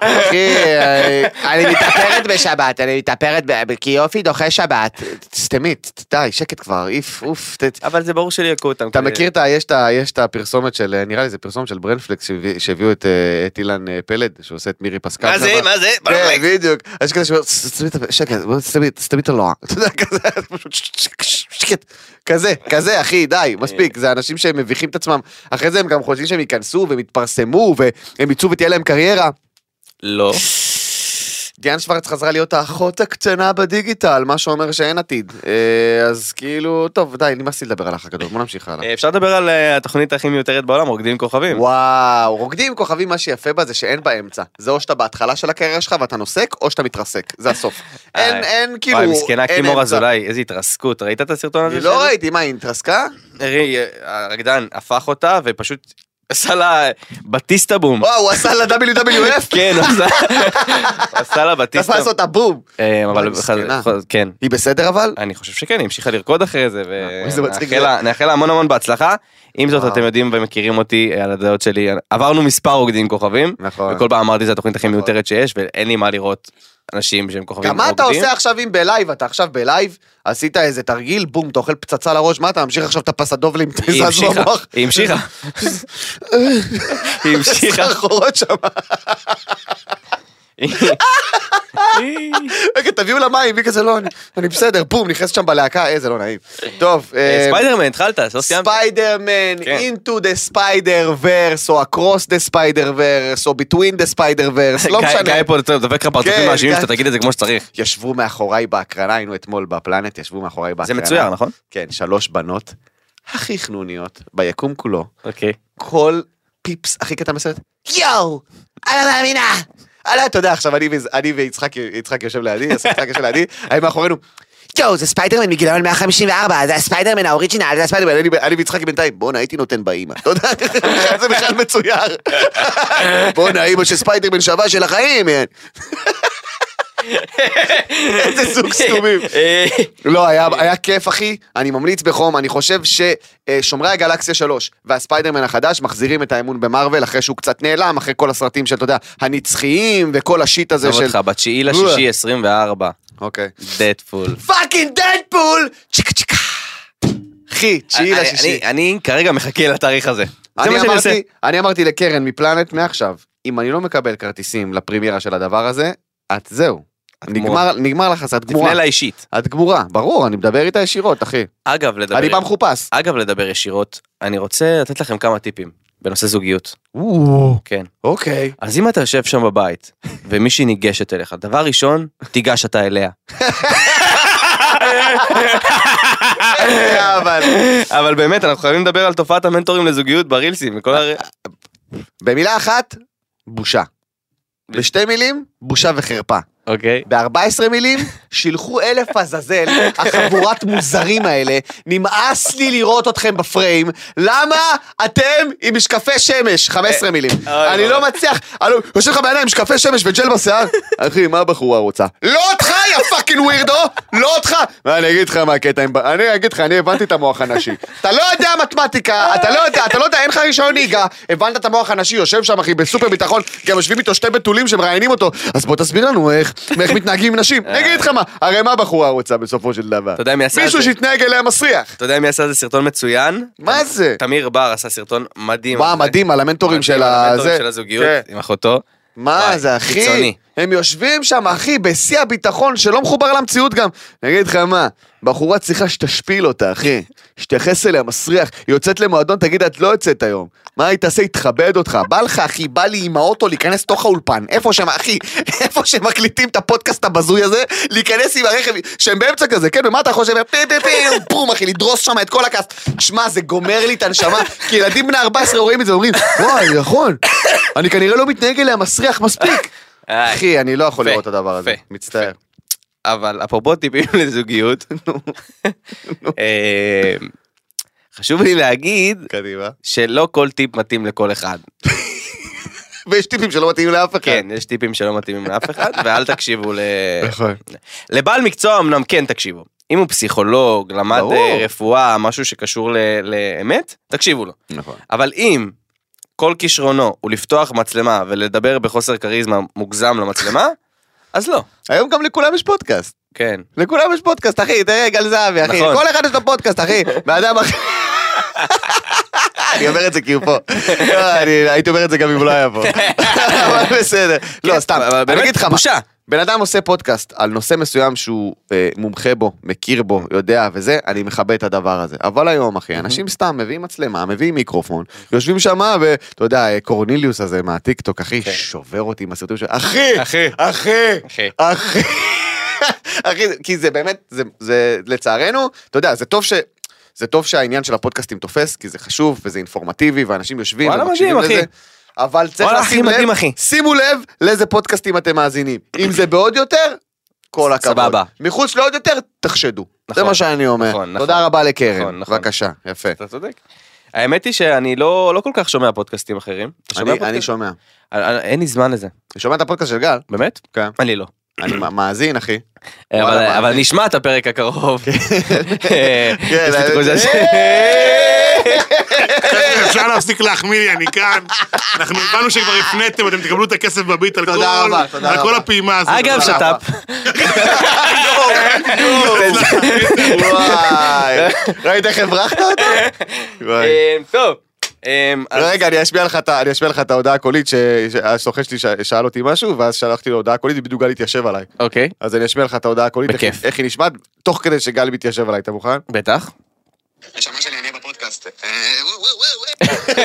[SPEAKER 2] אחי, אה, אני מתאפרת בשבת, אני מתאפרת, ב- כי יופי דוחה שבת. סתמי, ת- די, שקט כבר, איף, אוף. ת-
[SPEAKER 3] אבל זה ברור שליהקו אותם.
[SPEAKER 2] אתה
[SPEAKER 3] כדי-
[SPEAKER 2] מכיר את ה... יש את ה- יש את הפרסומת של, אה, נראה לי זה פרסומת של ברנפלקס שהביא- שהביאו את אה, את אילן אה, פלד, שעושה את מירי פסקל.
[SPEAKER 3] מה זה
[SPEAKER 2] שם.
[SPEAKER 3] מה זה.
[SPEAKER 2] כן, בדיוק. אז יש כזה שאומר, "סתמי את הפה, שקט, בוא, סתמי- סתמי את הלוע. אתה יודע, כזה, אז פשוט ש- ש- ש- שקט. כזה, כזה, אחי, די,
[SPEAKER 3] כן.
[SPEAKER 2] מספיק. זה אנשים שהם מביכים את עצמם. אחרי זה הם גם חושבים שהם ייכנסו והם יתפרסמו והם יצאו ותהיה להם קריירה.
[SPEAKER 3] לא.
[SPEAKER 2] דיאן שוורץ חזרה להיות האחות הקטנה בדיגיטל, מה שאומר שאין עתיד. אה, אז כאילו, טוב, די, נמאס לי לדבר על האח הגדול, בוא נמשיך הלאה.
[SPEAKER 3] אה, אפשר לדבר על אה, התוכנית הכי מיותרת בעולם רוקדים כוכבים.
[SPEAKER 2] וואו, רוקדים עם כוכבים, מה שיפה בה זה שאין באמצע. זה או שאתה בהתחלה של הקריירה שלך ואתה נוסק, או שאתה מתרסק, זה הסוף. אין,
[SPEAKER 3] אה,
[SPEAKER 2] אין, כאילו,
[SPEAKER 3] וואי, מסכנה
[SPEAKER 2] אין
[SPEAKER 3] קימור
[SPEAKER 2] אמצע.
[SPEAKER 3] אזולאי איזה התרסקות ראית את הסרטון הזה?
[SPEAKER 2] אני
[SPEAKER 3] שלה?
[SPEAKER 2] לא ראיתי, מה, היא התרסקה?
[SPEAKER 3] ראי, אה, הרקדן הפך אותה ופשוט עשה לה בטיסטה בום.
[SPEAKER 2] וואו, הוא עשה לה WWF?
[SPEAKER 3] כן עשה- עשה לה
[SPEAKER 2] אתה
[SPEAKER 3] בטיסטה.
[SPEAKER 2] יכול לעשות את הבום.
[SPEAKER 3] אה, אבל
[SPEAKER 2] וואי, מסכנה.
[SPEAKER 3] כן.
[SPEAKER 2] היא בסדר אבל?
[SPEAKER 3] אני חושב שכן, היא המשיכה לרקוד אחרי זה,
[SPEAKER 2] וואו, אה, איזה מצחיק אה.
[SPEAKER 3] ונאחל לה- נאחל לה המון המון בהצלחה. עם זאת,
[SPEAKER 2] וואו.
[SPEAKER 3] אתם יודעים ומכירים אותי על הדעות שלי, עברנו מספר רוקדים כוכבים,
[SPEAKER 2] נכון.
[SPEAKER 3] וכל פעם אמרתי, זו התוכנית הכי מיותרת שיש, ואין לי מה לראות אנשים שהם כוכבים
[SPEAKER 2] גם מה אתה
[SPEAKER 3] רוקדים."
[SPEAKER 2] עושה עכשיו אם בלייב, אתה עכשיו בלייב, עשית איזה תרגיל, בום, אתה אוכל פצצה לראש, מה אתה ממשיך עכשיו את הפסדובלים,
[SPEAKER 3] היא
[SPEAKER 2] תזז
[SPEAKER 3] המשיכה,
[SPEAKER 2] במוח,
[SPEAKER 3] היא המשיכה. היא המשיכה.
[SPEAKER 2] סחרחורות שם, רגע, תביאו לה מים, היא כזה לא, אני- אני בסדר, בום, נכנסת שם בלהקה, איזה לא נעים. טוב,
[SPEAKER 3] אה,
[SPEAKER 2] אה,
[SPEAKER 3] ספיידרמן, התחלת, לא סיימת.
[SPEAKER 2] ספיידרמן,
[SPEAKER 3] כן.
[SPEAKER 2] into the spider verse, או across the spider verse, או between the spider verse, לא
[SPEAKER 3] גיא-
[SPEAKER 2] משנה.
[SPEAKER 3] גיא פה דופק לך פרצופים
[SPEAKER 2] כן,
[SPEAKER 3] מאשימים
[SPEAKER 2] גיא.
[SPEAKER 3] שאתה תגיד את זה כמו שצריך.
[SPEAKER 2] ישבו מאחוריי בהקרנה, היינו אתמול בפלנט, ישבו מאחוריי
[SPEAKER 3] זה
[SPEAKER 2] בהקרנה.
[SPEAKER 3] מצויר, נכון?
[SPEAKER 2] כן, שלוש בנות, הכי חנוניות, ביקום כולו,
[SPEAKER 3] אוקיי.
[SPEAKER 2] כל פיפס הכי קטן בסרט, יואו, אני לא מאמינה. אני לא, אתה יודע, עכשיו אני ו- אני ויצחק יצחק יושב לידי, אז יצחק יושב לידי, אני מאחורינו. יואו, זה ספיידרמן מגיליון 154, זה הספיידרמן האוריג'ינל, זה הספיידרמן, אני- אני ויצחק בינתיים, בואנה, הייתי נותן באימא. אתה יודע, זה בכלל מצויר. בואנה, אימא של ספיידרמן שווה של החיים, יא. איזה זוג סתומים.
[SPEAKER 3] אה,
[SPEAKER 2] לא, היה, היה כיף, אחי. אני ממליץ בחום, אני חושב ששומרי הגלקסיה 3 והספיידרמן החדש מחזירים את האמון במרוויל אחרי שהוא קצת נעלם, אחרי כל הסרטים של, אתה יודע, הנצחיים וכל השיט הזה
[SPEAKER 3] עזוב
[SPEAKER 2] של...
[SPEAKER 3] אותך, בתשיעי לשישי 24.
[SPEAKER 2] אוקיי.
[SPEAKER 3] דדפול.
[SPEAKER 2] פאקינג דדפול! צ'יקה צ'יקה! אחי, תשיעי
[SPEAKER 3] אני-
[SPEAKER 2] לשישי.
[SPEAKER 3] אה, אני- אני כרגע מחכה לתאריך הזה. זה מה
[SPEAKER 2] אני
[SPEAKER 3] שאני עושה.
[SPEAKER 2] אמרתי, אני אמרתי לקרן מפלנט מעכשיו, אם אני לא מקבל כרטיסים לפרימיירה של הדבר הזה, את זהו.
[SPEAKER 3] גמורה.
[SPEAKER 2] נגמר, נגמר לך, את גמורה.
[SPEAKER 3] תפנה אליי אישית.
[SPEAKER 2] את גמורה, ברור, אני מדבר איתה ישירות, אחי.
[SPEAKER 3] אגב, לדבר...
[SPEAKER 2] אני בא מחופש.
[SPEAKER 3] אגב, לדבר ישירות, אני רוצה לתת לכם כמה טיפים בנושא זוגיות. כן.
[SPEAKER 2] אוקיי.
[SPEAKER 3] אז אם אתה יושב שם בבית, ומישהי ניגשת אליך, דבר ראשון, תיגש אתה אליה.
[SPEAKER 2] אבל...
[SPEAKER 3] אבל באמת, אנחנו חייבים לדבר על תופעת המנטורים לזוגיות ברילסים, וכל הר...
[SPEAKER 2] במילה אחת, בושה. בשתי מילים, בושה וחרפה.
[SPEAKER 3] אוקיי.
[SPEAKER 2] ב-14 מילים, שילחו אלף עזאזל, החבורת מוזרים האלה, נמאס לי לראות אתכם בפריים, למה אתם עם משקפי שמש? 15 מילים.
[SPEAKER 3] אה, אוי,
[SPEAKER 2] אני
[SPEAKER 3] אוי.
[SPEAKER 2] לא מצליח, אני- יושב לך בעיניים משקפי שמש וג'ל בשיער? אחי, מה הבחורה רוצה? לא אותך, יא פאקינג ווירדו! לא אותך! ואני אגיד לך מה הקטע עם... ב- אני אגיד לך, אני הבנתי את המוח הנשי. אתה לא יודע מתמטיקה, אתה לא יודע, אתה לא יודע, אין לך רישיון נהיגה, הבנת את המוח הנשי, יושב שם, אחי, בסופר ביטחון, גם יושבים איתו שתי בתולים שמראיינים אותו, אז בוא תסביר לנו איך, איך מתנהגים עם נשים. אני אגיד לך מה, הרי מה הבחורה רוצה בסופו של דבר?
[SPEAKER 3] אתה יודע מי עשה את
[SPEAKER 2] מישהו
[SPEAKER 3] זה?
[SPEAKER 2] שיתנהג אליה מסריח.
[SPEAKER 3] אתה יודע מי עשה על זה סרטון מצוין?
[SPEAKER 2] מה זה?
[SPEAKER 3] תמיר בר עשה סרטון מדהים.
[SPEAKER 2] מה,
[SPEAKER 3] על זה.
[SPEAKER 2] מדהים, על המנטורים של
[SPEAKER 3] על
[SPEAKER 2] ה...
[SPEAKER 3] המנטורים
[SPEAKER 2] זה.
[SPEAKER 3] של הזוגיות,
[SPEAKER 2] כן.
[SPEAKER 3] עם אחותו.
[SPEAKER 2] מה
[SPEAKER 3] וואי,
[SPEAKER 2] זה אחי?
[SPEAKER 3] קיצוני.
[SPEAKER 2] הם יושבים שם אחי בשיא הביטחון שלא מחובר למציאות גם. אני אגיד לך מה, בחורה צריכה שתשפיל אותה אחי. שתתייחס אליה מסריח, היא יוצאת למועדון, תגיד את לא יוצאת היום. מה היא תעשה? היא תכבד אותך. בא לך אחי, בא לי עם האוטו להיכנס תוך האולפן. איפה שהם אחי, איפה שמקליטים את הפודקאסט הבזוי הזה, להיכנס עם הרכב, שהם באמצע כזה, כן, ומה אתה חושב? פי פי פי, בום אחי, לדרוס שם את כל הכס. שמע, זה גומר לי את הנשמה, כי ילדים בני 14 רואים את זה ואומרים, וואי, נכון, אני כנראה לא מתנהג אליה מסריח מספיק.
[SPEAKER 3] איי.
[SPEAKER 2] אחי, אני לא יכול
[SPEAKER 3] אה, יפה,
[SPEAKER 2] לראות את הדבר הזה,
[SPEAKER 3] יפה,
[SPEAKER 2] מצטער.
[SPEAKER 3] אבל אפרופו טיפים לזוגיות, אה, חשוב לי להגיד
[SPEAKER 2] קדימה.
[SPEAKER 3] שלא כל טיפ מתאים לכל אחד.
[SPEAKER 2] ויש טיפים שלא מתאים לאף אחד.
[SPEAKER 3] כן, יש טיפים שלא מתאימים לאף אחד, ואל תקשיבו ל...
[SPEAKER 2] נכון.
[SPEAKER 3] לבעל מקצוע אמנם כן תקשיבו. אם הוא פסיכולוג, למד
[SPEAKER 2] ברור.
[SPEAKER 3] אה, רפואה, משהו שקשור ל- לאמת, תקשיבו לו.
[SPEAKER 2] נכון.
[SPEAKER 3] אבל אם כל כישרונו הוא לפתוח מצלמה ולדבר בחוסר כריזמה מוגזם למצלמה, אז לא.
[SPEAKER 2] היום גם לכולם יש פודקאסט.
[SPEAKER 3] כן.
[SPEAKER 2] לכולם יש פודקאסט, אחי, תראה, גל זהבי, אחי,
[SPEAKER 3] נכון.
[SPEAKER 2] כל אחד יש לו פודקאסט, אחי, ואדם אחר... אני אומר את זה כי הוא פה. לא, אני- הייתי אומר את זה גם אם הוא לא היה פה. אבל בסדר. לא,
[SPEAKER 3] כן,
[SPEAKER 2] סתם,
[SPEAKER 3] אבל
[SPEAKER 2] אני
[SPEAKER 3] באמת,
[SPEAKER 2] אגיד לך מה.
[SPEAKER 3] בושה.
[SPEAKER 2] בן אדם עושה פודקאסט על נושא מסוים שהוא אה, מומחה בו, מכיר בו, יודע וזה, אני מכבד את הדבר הזה. אבל היום, אחי, אנשים סתם מביאים מצלמה, מביאים מיקרופון, יושבים שמה, ואתה יודע, אה, קורניליוס הזה מהטיקטוק, אחי,
[SPEAKER 3] כן.
[SPEAKER 2] שובר אותי עם הסרטונים שלו. אחי!
[SPEAKER 3] אחי.
[SPEAKER 2] אחי!
[SPEAKER 3] אחי.
[SPEAKER 2] אחי, אחי, זה- כי זה באמת, זה, זה לצערנו, אתה יודע, זה טוב ש... זה טוב שהעניין של הפודקאסטים תופס, כי זה חשוב וזה אינפורמטיבי, ואנשים יושבים
[SPEAKER 3] וואלה,
[SPEAKER 2] ומקשיבים
[SPEAKER 3] מדהים,
[SPEAKER 2] לזה.
[SPEAKER 3] אחי.
[SPEAKER 2] אבל צריך
[SPEAKER 3] וואלה,
[SPEAKER 2] לשים
[SPEAKER 3] אחי, מדהים,
[SPEAKER 2] לב,
[SPEAKER 3] אחי.
[SPEAKER 2] שימו לב לאיזה פודקאסטים אתם מאזינים. אם זה בעוד יותר, כל הכבוד.
[SPEAKER 3] סבבה.
[SPEAKER 2] מחוץ לעוד יותר, תחשדו. זה
[SPEAKER 3] נכון,
[SPEAKER 2] מה שאני אומר.
[SPEAKER 3] נכון, נכון.
[SPEAKER 2] תודה רבה לקרן.
[SPEAKER 3] נכון, נכון.
[SPEAKER 2] בבקשה, יפה.
[SPEAKER 3] אתה צודק. האמת היא שאני לא, לא כל כך שומע פודקאסטים אחרים. אתה שומע
[SPEAKER 2] אני, אני
[SPEAKER 3] פודקאסט?
[SPEAKER 2] שומע.
[SPEAKER 3] אני- אין לי זמן לזה.
[SPEAKER 2] אני שומע את הפודקאסט של גל?
[SPEAKER 3] באמת?
[SPEAKER 2] כן.
[SPEAKER 3] אני לא.
[SPEAKER 2] אני מא- מאזין, אחי. וואלה,
[SPEAKER 3] אבל, אה,
[SPEAKER 2] מה?
[SPEAKER 3] אבל נשמע את הפרק הקרוב. אה,
[SPEAKER 2] כן,
[SPEAKER 3] יש לי תחושה ש-
[SPEAKER 4] חבר'ה, אפשר להפסיק להחמיא לי, אני כאן. אנחנו הבנו שכבר הפניתם, אתם תקבלו את הכסף בביט על
[SPEAKER 2] תודה
[SPEAKER 4] כל-
[SPEAKER 2] רבה, תודה
[SPEAKER 4] על כל
[SPEAKER 2] רבה.
[SPEAKER 4] הפעימה הזאת.
[SPEAKER 3] אגב,
[SPEAKER 4] תודה.
[SPEAKER 3] שת"פ.
[SPEAKER 2] וואי. ראית איך הברחת אותו? וואי.
[SPEAKER 3] אה, טוב. אה, אז-
[SPEAKER 2] רגע, אני אשמיע לך את ה- אני אשמיע לך את ההודעה הקולית, ש- שהסוכן שלי ש- שאל אותי משהו, ואז שלחתי לו הודעה קולית, ובדיוק גל התיישב עליי.
[SPEAKER 3] אוקיי,
[SPEAKER 2] אז אני אשמיע לך את ההודעה הקולית, איך-
[SPEAKER 3] בכיף.
[SPEAKER 2] איך היא נשמעת, תוך כדי שגל מתיישב עליי, אתה מוכן?
[SPEAKER 3] בטח.
[SPEAKER 5] נשמה שלי, אני אהיה בפודקאסט. אה, וואו, וואו,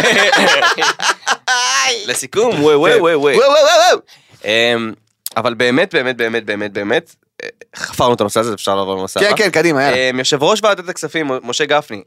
[SPEAKER 5] וואו.
[SPEAKER 3] לסיכום, וואי וואי וואי וואי.
[SPEAKER 2] וואו, וואו, וואו.
[SPEAKER 3] אמ, אבל באמת, באמת, באמת, באמת, באמת, אה, חפרנו את הנושא הזה, אפשר לעבור לנושא
[SPEAKER 2] כן,
[SPEAKER 3] הבא.
[SPEAKER 2] כן, קדימה, יאללה.
[SPEAKER 3] אמ, יושב ראש ועדת הכספים, משה גפני,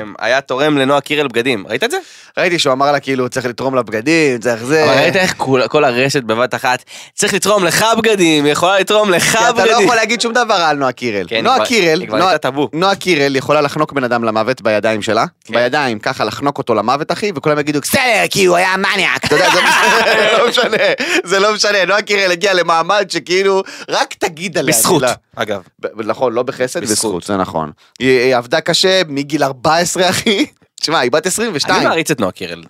[SPEAKER 3] אמ, היה תורם לנועה קירל בגדים, ראית את זה?
[SPEAKER 2] ראיתי שהוא אמר לה כאילו, צריך לתרום לה בגדים, צריך זה.
[SPEAKER 3] אבל ראית איך כול- כל הרשת בבת אחת, צריך לתרום לך בגדים, היא יכולה לתרום לך
[SPEAKER 2] כי אתה לא
[SPEAKER 3] בגדים.
[SPEAKER 2] יכול להגיד שום דבר על נועה קירל.
[SPEAKER 3] כן,
[SPEAKER 2] נועה
[SPEAKER 3] כבר-
[SPEAKER 2] קירל,
[SPEAKER 3] היא כבר
[SPEAKER 2] נועה-
[SPEAKER 3] הייתה טאבו.
[SPEAKER 2] נועה קירל יכולה לחנוק בן אדם למוות בידיים שלה,
[SPEAKER 3] כן.
[SPEAKER 2] בידיים, ככה לחנוק אותו למוות אחי, וכולם יגידו בסדר, כי הוא היה מניאק, אתה יודע, זה זה לא משנה, זה לא משנה, נועה קירל הגיעה למעמד שכאילו, רק תגיד עליה.
[SPEAKER 3] בזכות,
[SPEAKER 2] מילה.
[SPEAKER 3] אגב.
[SPEAKER 2] ב- נכון, לא בחסד,
[SPEAKER 3] בזכות.
[SPEAKER 2] בזכות, זה נכון. היא- היא עבדה קשה מגיל 14 אחי, תשמע, היא בת
[SPEAKER 3] אני
[SPEAKER 2] 22.
[SPEAKER 3] מעריץ את נועה קירל.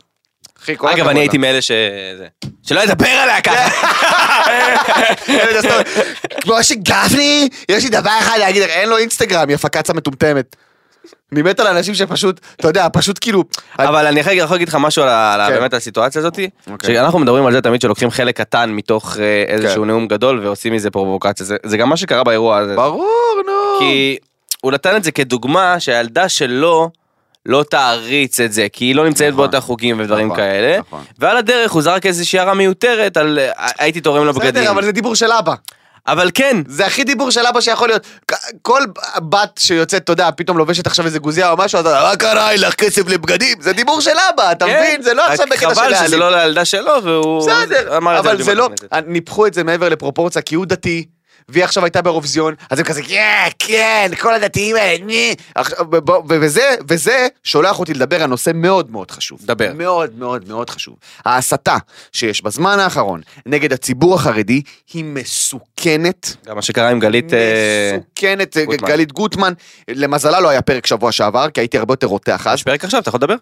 [SPEAKER 2] אחי, כל
[SPEAKER 3] אגב,
[SPEAKER 2] הכבוד לה. כן.
[SPEAKER 3] אני הייתי מאלה ש... זה. שלא ידבר עליה ככה.
[SPEAKER 2] ילד הסתם, כמו שגפני, יש לי דבר אחד להגיד, אין לו אינסטגרם, יא פקצה מטומטמת. אני מת על אנשים שפשוט, אתה יודע, פשוט כאילו...
[SPEAKER 3] אבל אני אחרי יכול להגיד לך משהו על ה- על ה-
[SPEAKER 2] כן.
[SPEAKER 3] באמת על הסיטואציה הזאת,
[SPEAKER 2] אוקיי. כן.
[SPEAKER 3] שאנחנו מדברים על זה תמיד שלוקחים חלק קטן מתוך אה, איזשהו נאום גדול ועושים מזה פרובוקציה, זה- זה גם מה שקרה באירוע הזה,
[SPEAKER 2] ברור, נו.
[SPEAKER 3] כי הוא נתן את זה כדוגמה שהילדה שלו לא תעריץ את זה, כי היא לא נמצאת באותה חוקים ודברים
[SPEAKER 2] נכון,
[SPEAKER 3] כאלה,
[SPEAKER 2] נכון.
[SPEAKER 3] ועל הדרך הוא זרק איזושהי הערה מיותרת על אה, הייתי תורם לבגדים,
[SPEAKER 2] בסדר, אבל זה דיבור של אבא.
[SPEAKER 3] אבל כן,
[SPEAKER 2] זה הכי דיבור של אבא שיכול להיות. כ- כל בת שיוצאת, אתה יודע, פתאום לובשת עכשיו איזה גוזייה או משהו, אז מה קרה, אין לך כסף לבגדים? זה דיבור של אבא, אתה
[SPEAKER 3] כן,
[SPEAKER 2] מבין? זה לא
[SPEAKER 3] רק
[SPEAKER 2] עכשיו בקטע של
[SPEAKER 3] חבל שזה
[SPEAKER 2] להעליב.
[SPEAKER 3] לא לילדה שלו, והוא
[SPEAKER 2] בסדר,
[SPEAKER 3] אמר את
[SPEAKER 2] אבל
[SPEAKER 3] על
[SPEAKER 2] זה
[SPEAKER 3] בימת
[SPEAKER 2] לא,
[SPEAKER 3] הכנסת.
[SPEAKER 2] ניפחו את זה מעבר לפרופורציה, כי הוא דתי. והיא עכשיו הייתה באירוויזיון, אז הם כזה, כן, כן, כל הדתיים האלה, נה." עכשיו, ב- ב- ו- וזה, וזה שולח אותי לדבר על נושא מאוד מאוד חשוב.
[SPEAKER 3] דבר.
[SPEAKER 2] מאוד מאוד מאוד חשוב. ההסתה שיש בזמן האחרון נגד הציבור החרדי היא מסוכנת.
[SPEAKER 3] גם מה שקרה עם גלית... אה,
[SPEAKER 2] מסוכנת, אה,
[SPEAKER 3] גוטמן.
[SPEAKER 2] גלית גוטמן, למזלה לא היה פרק שבוע שעבר, כי הייתי הרבה יותר רותח אז.
[SPEAKER 3] יש פרק עכשיו, אתה יכול לדבר?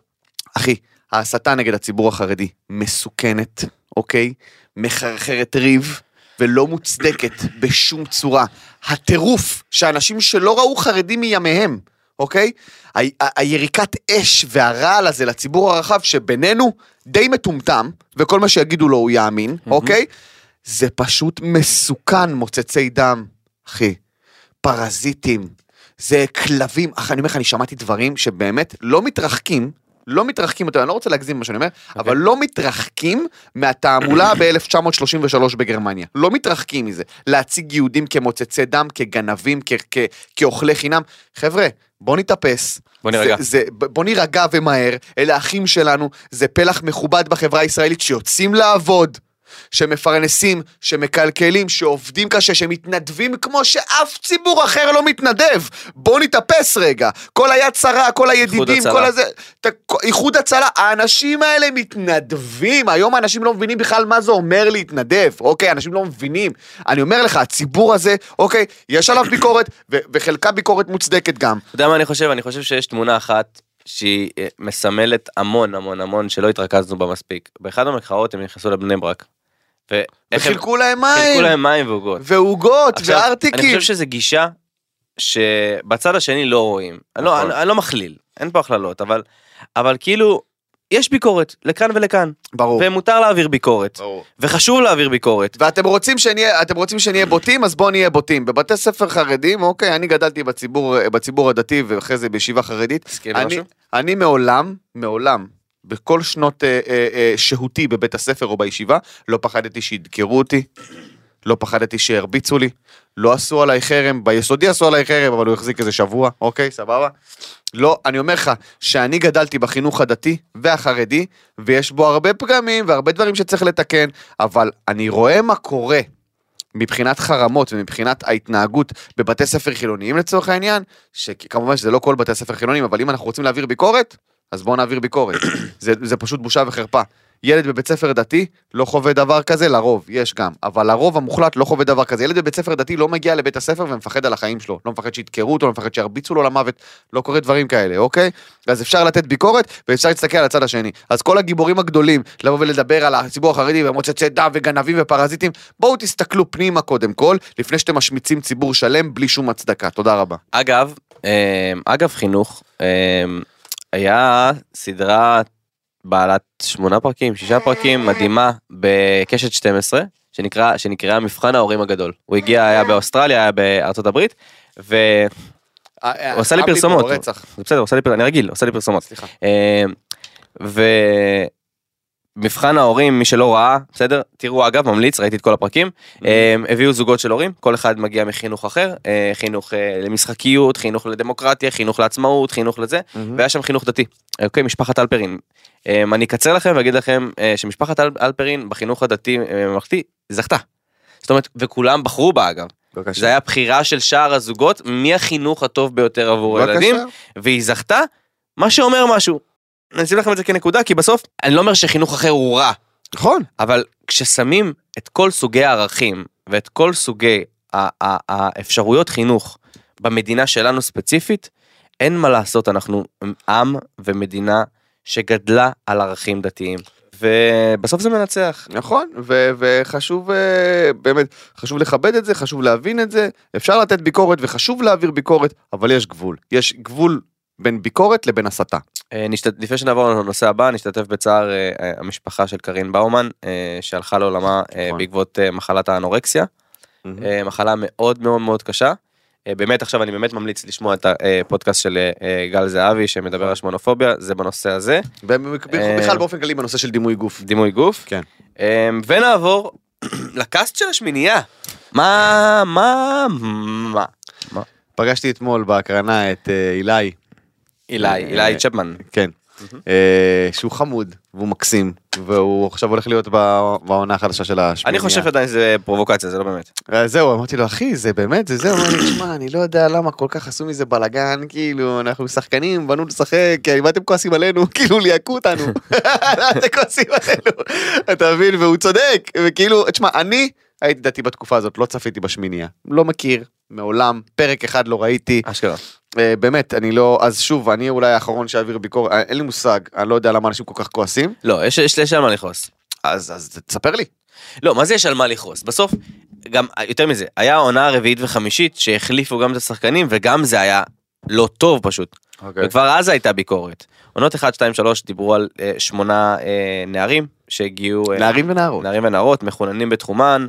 [SPEAKER 2] אחי, ההסתה נגד הציבור החרדי מסוכנת, אוקיי? מחרחרת ריב ולא מוצדקת בשום צורה. הטירוף שאנשים שלא ראו חרדים מימיהם, אוקיי? ה- ה- היריקת אש והרעל הזה לציבור הרחב שבינינו די מטומטם, וכל מה שיגידו לו הוא יאמין, אוקיי? זה פשוט מסוכן, מוצצי דם, אחי. פרזיטים, זה כלבים. אך אני אומר לך, אני שמעתי דברים שבאמת לא מתרחקים, לא מתרחקים יותר, אני לא רוצה להגזים במה שאני אומר, אבל לא מתרחקים מהתעמולה ב-1933 בגרמניה. לא מתרחקים מזה. להציג יהודים כמוצצי דם, כגנבים, כ- כ- כאוכלי חינם. חבר'ה, בוא נתאפס.
[SPEAKER 3] בוא נירגע.
[SPEAKER 2] זה, זה, ב- בוא נירגע ומהר, אלה האחים שלנו, זה פלח מכובד בחברה הישראלית שיוצאים לעבוד, שמפרנסים, שמקלקלים, שעובדים קשה, שמתנדבים כמו שאף ציבור אחר לא מתנדב. בוא נתאפס רגע. כל היד שרה, כל הידידים,
[SPEAKER 3] הצלה.
[SPEAKER 2] כל הזה... ת- כ- איחוד הצלה, האנשים האלה מתנדבים, היום האנשים לא מבינים בכלל מה זה אומר להתנדב, אוקיי? אנשים לא מבינים. אני אומר לך, הציבור הזה, אוקיי, יש עליו ביקורת, ו- וחלקה ביקורת מוצדקת גם.
[SPEAKER 3] אתה יודע מה אני חושב? אני חושב שיש תמונה אחת שהיא אה, מסמלת המון המון המון שלא התרכזנו בה מספיק. באחד המחאות הם נכנסו לבני ברק. ואיך הם-
[SPEAKER 2] וחילקו להם
[SPEAKER 3] חילקו
[SPEAKER 2] מים,
[SPEAKER 3] להם מים ועוגות.
[SPEAKER 2] ועוגות,
[SPEAKER 3] עכשיו, אני
[SPEAKER 2] וארטיקים.
[SPEAKER 3] חושב שזו גישה שבצד השני לא רואים. אני לא-
[SPEAKER 2] נכון.
[SPEAKER 3] אני אני לא מכליל, אין פה הכללות, אבל- אבל כאילו, יש ביקורת לכאן ולכאן,
[SPEAKER 2] ברור.
[SPEAKER 3] ומותר להעביר ביקורת,
[SPEAKER 2] ברור.
[SPEAKER 3] וחשוב להעביר ביקורת.
[SPEAKER 2] ואתם רוצים שנהיה, אתם רוצים שנהיה בוטים, אז בואו נהיה בוטים. בבתי ספר חרדים, אוקיי, אני גדלתי בציבור, בציבור הדתי ואחרי זה בישיבה חרדית.
[SPEAKER 3] מסכים
[SPEAKER 2] אני,
[SPEAKER 3] לא משהו?
[SPEAKER 2] אני מעולם, מעולם, בכל שנות אה, אה, אה, שהותי בבית הספר או בישיבה, לא פחדתי שידקרו אותי, לא פחדתי שירביצו לי, לא עשו עליי חרם, ביסודי עשו עליי חרם, אבל הוא החזיק איזה שבוע, אוקיי, סבבה? לא, אני אומר לך, שאני גדלתי בחינוך הדתי והחרדי, ויש בו הרבה פגמים והרבה דברים שצריך לתקן, אבל אני רואה מה קורה מבחינת חרמות ומבחינת ההתנהגות בבתי ספר חילוניים לצורך העניין, שכמובן שזה לא כל בתי ספר חילוניים, אבל אם אנחנו רוצים להעביר ביקורת, אז בואו נעביר ביקורת. זה, זה פשוט בושה וחרפה. ילד בבית ספר דתי לא חווה דבר כזה, לרוב, יש גם, אבל הרוב המוחלט לא חווה דבר כזה. ילד בבית ספר דתי לא מגיע לבית הספר ומפחד על החיים שלו, לא מפחד שידקרו אותו, לא מפחד שירביצו לו למוות, לא קורה דברים כאלה, אוקיי? אז אפשר לתת ביקורת ואפשר להסתכל על הצד השני. אז כל הגיבורים הגדולים, לבוא ולדבר על הציבור החרדי ומוצצי דם וגנבים ופרזיטים, בואו תסתכלו פנימה קודם כל, לפני שאתם משמיצים ציבור שלם בלי שום הצדקה. תודה רבה.
[SPEAKER 3] אגב, אמ, אגב חינוך, אמ, היה סדרה בעלת שמונה פרקים, שישה פרקים, מדהימה, בקשת 12, שנקרא, שנקרא מבחן ההורים הגדול. הוא הגיע, היה באוסטרליה, היה בארצות הברית, ו... הוא עשה לי
[SPEAKER 2] אה, אבי פה,
[SPEAKER 3] פרסומות.
[SPEAKER 2] רצח.
[SPEAKER 3] זה בסדר, עושה לי פרסומות, אני רגיל, עושה לי פרסומות.
[SPEAKER 2] סליחה.
[SPEAKER 3] אה, ומבחן ההורים, מי שלא ראה, בסדר? תראו, אגב, ממליץ, ראיתי את כל הפרקים. אה, הביאו זוגות של הורים, כל אחד מגיע מחינוך אחר, אה, חינוך אה, למשחקיות, חינוך לדמוקרטיה, חינוך לעצמאות, חינוך לזה,
[SPEAKER 2] Mm-hmm.
[SPEAKER 3] והיה שם חינוך דתי. אוקיי, משפחת אלפרין. אה, אני אקצר לכם ואגיד לכם אה, שמשפחת אל- אלפרין בחינוך הדתי אה, ממלכתי זכתה. זאת אומרת, וכולם בחרו בה אגב. זה היה בחירה של שאר הזוגות, מי החינוך הטוב ביותר עבור
[SPEAKER 2] בבקשה.
[SPEAKER 3] הילדים. והיא זכתה, מה שאומר משהו. אני אשים לכם את זה כנקודה, כי בסוף, אני לא אומר שחינוך אחר הוא רע,
[SPEAKER 2] נכון.
[SPEAKER 3] אבל כששמים את כל סוגי הערכים ואת כל סוגי ה- ה- האפשרויות חינוך במדינה שלנו ספציפית, אין מה לעשות, אנחנו עם ומדינה שגדלה על ערכים דתיים. ובסוף זה מנצח.
[SPEAKER 2] נכון, ו- וחשוב אה, באמת, חשוב לכבד את זה, חשוב להבין את זה, אפשר לתת ביקורת וחשוב להעביר ביקורת, אבל יש גבול. יש גבול בין ביקורת לבין הסתה.
[SPEAKER 3] אה, נשת- לפני שנעבור לנושא הבא, נשתתף בצער אה, אה, המשפחה של קארין באומן, אה, שהלכה לעולמה אה,
[SPEAKER 2] נכון.
[SPEAKER 3] בעקבות אה, מחלת האנורקסיה.
[SPEAKER 2] מהמם.
[SPEAKER 3] אה, מחלה מאוד מאוד מאוד קשה. אה, באמת עכשיו אני באמת ממליץ לשמוע את הפודקאסט של אה, אה, גל זהבי שמדבר על שמונופוביה, זה בנושא הזה,
[SPEAKER 2] ובכלל
[SPEAKER 3] אה,
[SPEAKER 2] באופן כללי בנושא של דימוי גוף.
[SPEAKER 3] דימוי גוף.
[SPEAKER 2] כן.
[SPEAKER 3] אה, ונעבור לקאסט של השמינייה. מה, מה, מה?
[SPEAKER 2] פגשתי אתמול בהקרנה את אה, אילי,
[SPEAKER 3] אילי, אילי צ'פמן.
[SPEAKER 2] כן, אה, שהוא חמוד והוא מקסים, והוא עכשיו הולך להיות בא- בעונה החדשה של השמיניה.
[SPEAKER 3] אני חושב שעדיין זה פרובוקציה, זה לא באמת.
[SPEAKER 2] אז אה, זהו, אמרתי לו, אחי, זה באמת, זה זה, הוא אמר לי, תשמע, אני לא יודע למה כל כך עשו מזה בלאגן, כאילו, אנחנו שחקנים, באנו לשחק, כי מה אתם כועסים עלינו, כאילו, ליעקו אותנו, למה אתם כועסים עלינו, אתה מבין, והוא צודק, וכאילו, תשמע, אני הייתי דתי בתקופה הזאת, לא צפיתי בשמיניה, לא מכיר, מעולם, פרק אחד לא ראיתי,
[SPEAKER 3] אשכרה.
[SPEAKER 2] אה, באמת, אני לא, אז שוב, אני אולי האחרון שאעביר ביקורת, אה, אין לי מושג, אני לא יודע למה אנשים כל כך כועסים,
[SPEAKER 3] לא, יש- יש יש על מה לכעוס.
[SPEAKER 2] אז אז תספר לי.
[SPEAKER 3] לא, מה זה יש על מה לכעוס? בסוף, גם, יותר מזה, היה עונה רביעית וחמישית שהחליפו גם את השחקנים, וגם זה היה לא טוב פשוט.
[SPEAKER 2] כן.
[SPEAKER 3] וכבר אז הייתה ביקורת. עונות 1, 2, 3 דיברו על אה, שמונה אה, נערים שהגיעו... אה,
[SPEAKER 2] נערים ונערות.
[SPEAKER 3] נערים ונערות, מחוננים בתחומן,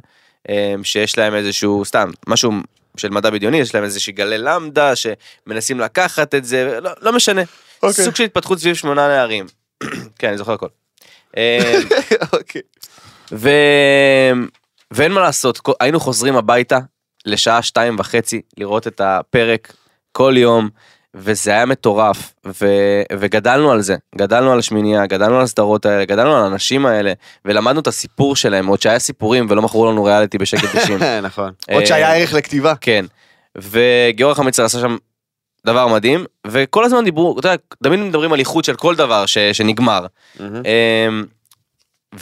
[SPEAKER 3] אה, שיש להם איזשהו, סתם, משהו של מדע בדיוני, יש להם איזושהי גלי למדה, שמנסים לקחת את זה, לא, לא משנה.
[SPEAKER 2] אוקיי.
[SPEAKER 3] סוג של התפתחות סביב שמונה נערים. כן, אני זוכר הכל. אה,
[SPEAKER 2] אוקיי.
[SPEAKER 3] ו... ואין מה לעשות, כל- היינו חוזרים הביתה לשעה שתיים וחצי לראות את הפרק כל יום, וזה היה מטורף, ו... וגדלנו על זה, גדלנו על השמינייה, גדלנו על הסדרות האלה, גדלנו על האנשים האלה, ולמדנו את הסיפור שלהם, עוד שהיה סיפורים ולא מכרו לנו ריאליטי בשקט 90.
[SPEAKER 2] נכון.
[SPEAKER 3] אה,
[SPEAKER 2] עוד שהיה ערך לכתיבה.
[SPEAKER 3] כן, וגיאורא חמיצר עשה שם דבר מדהים, וכל הזמן דיברו, אתה יודע, תמיד מדברים על איכות של כל דבר ש... שנגמר. אמ,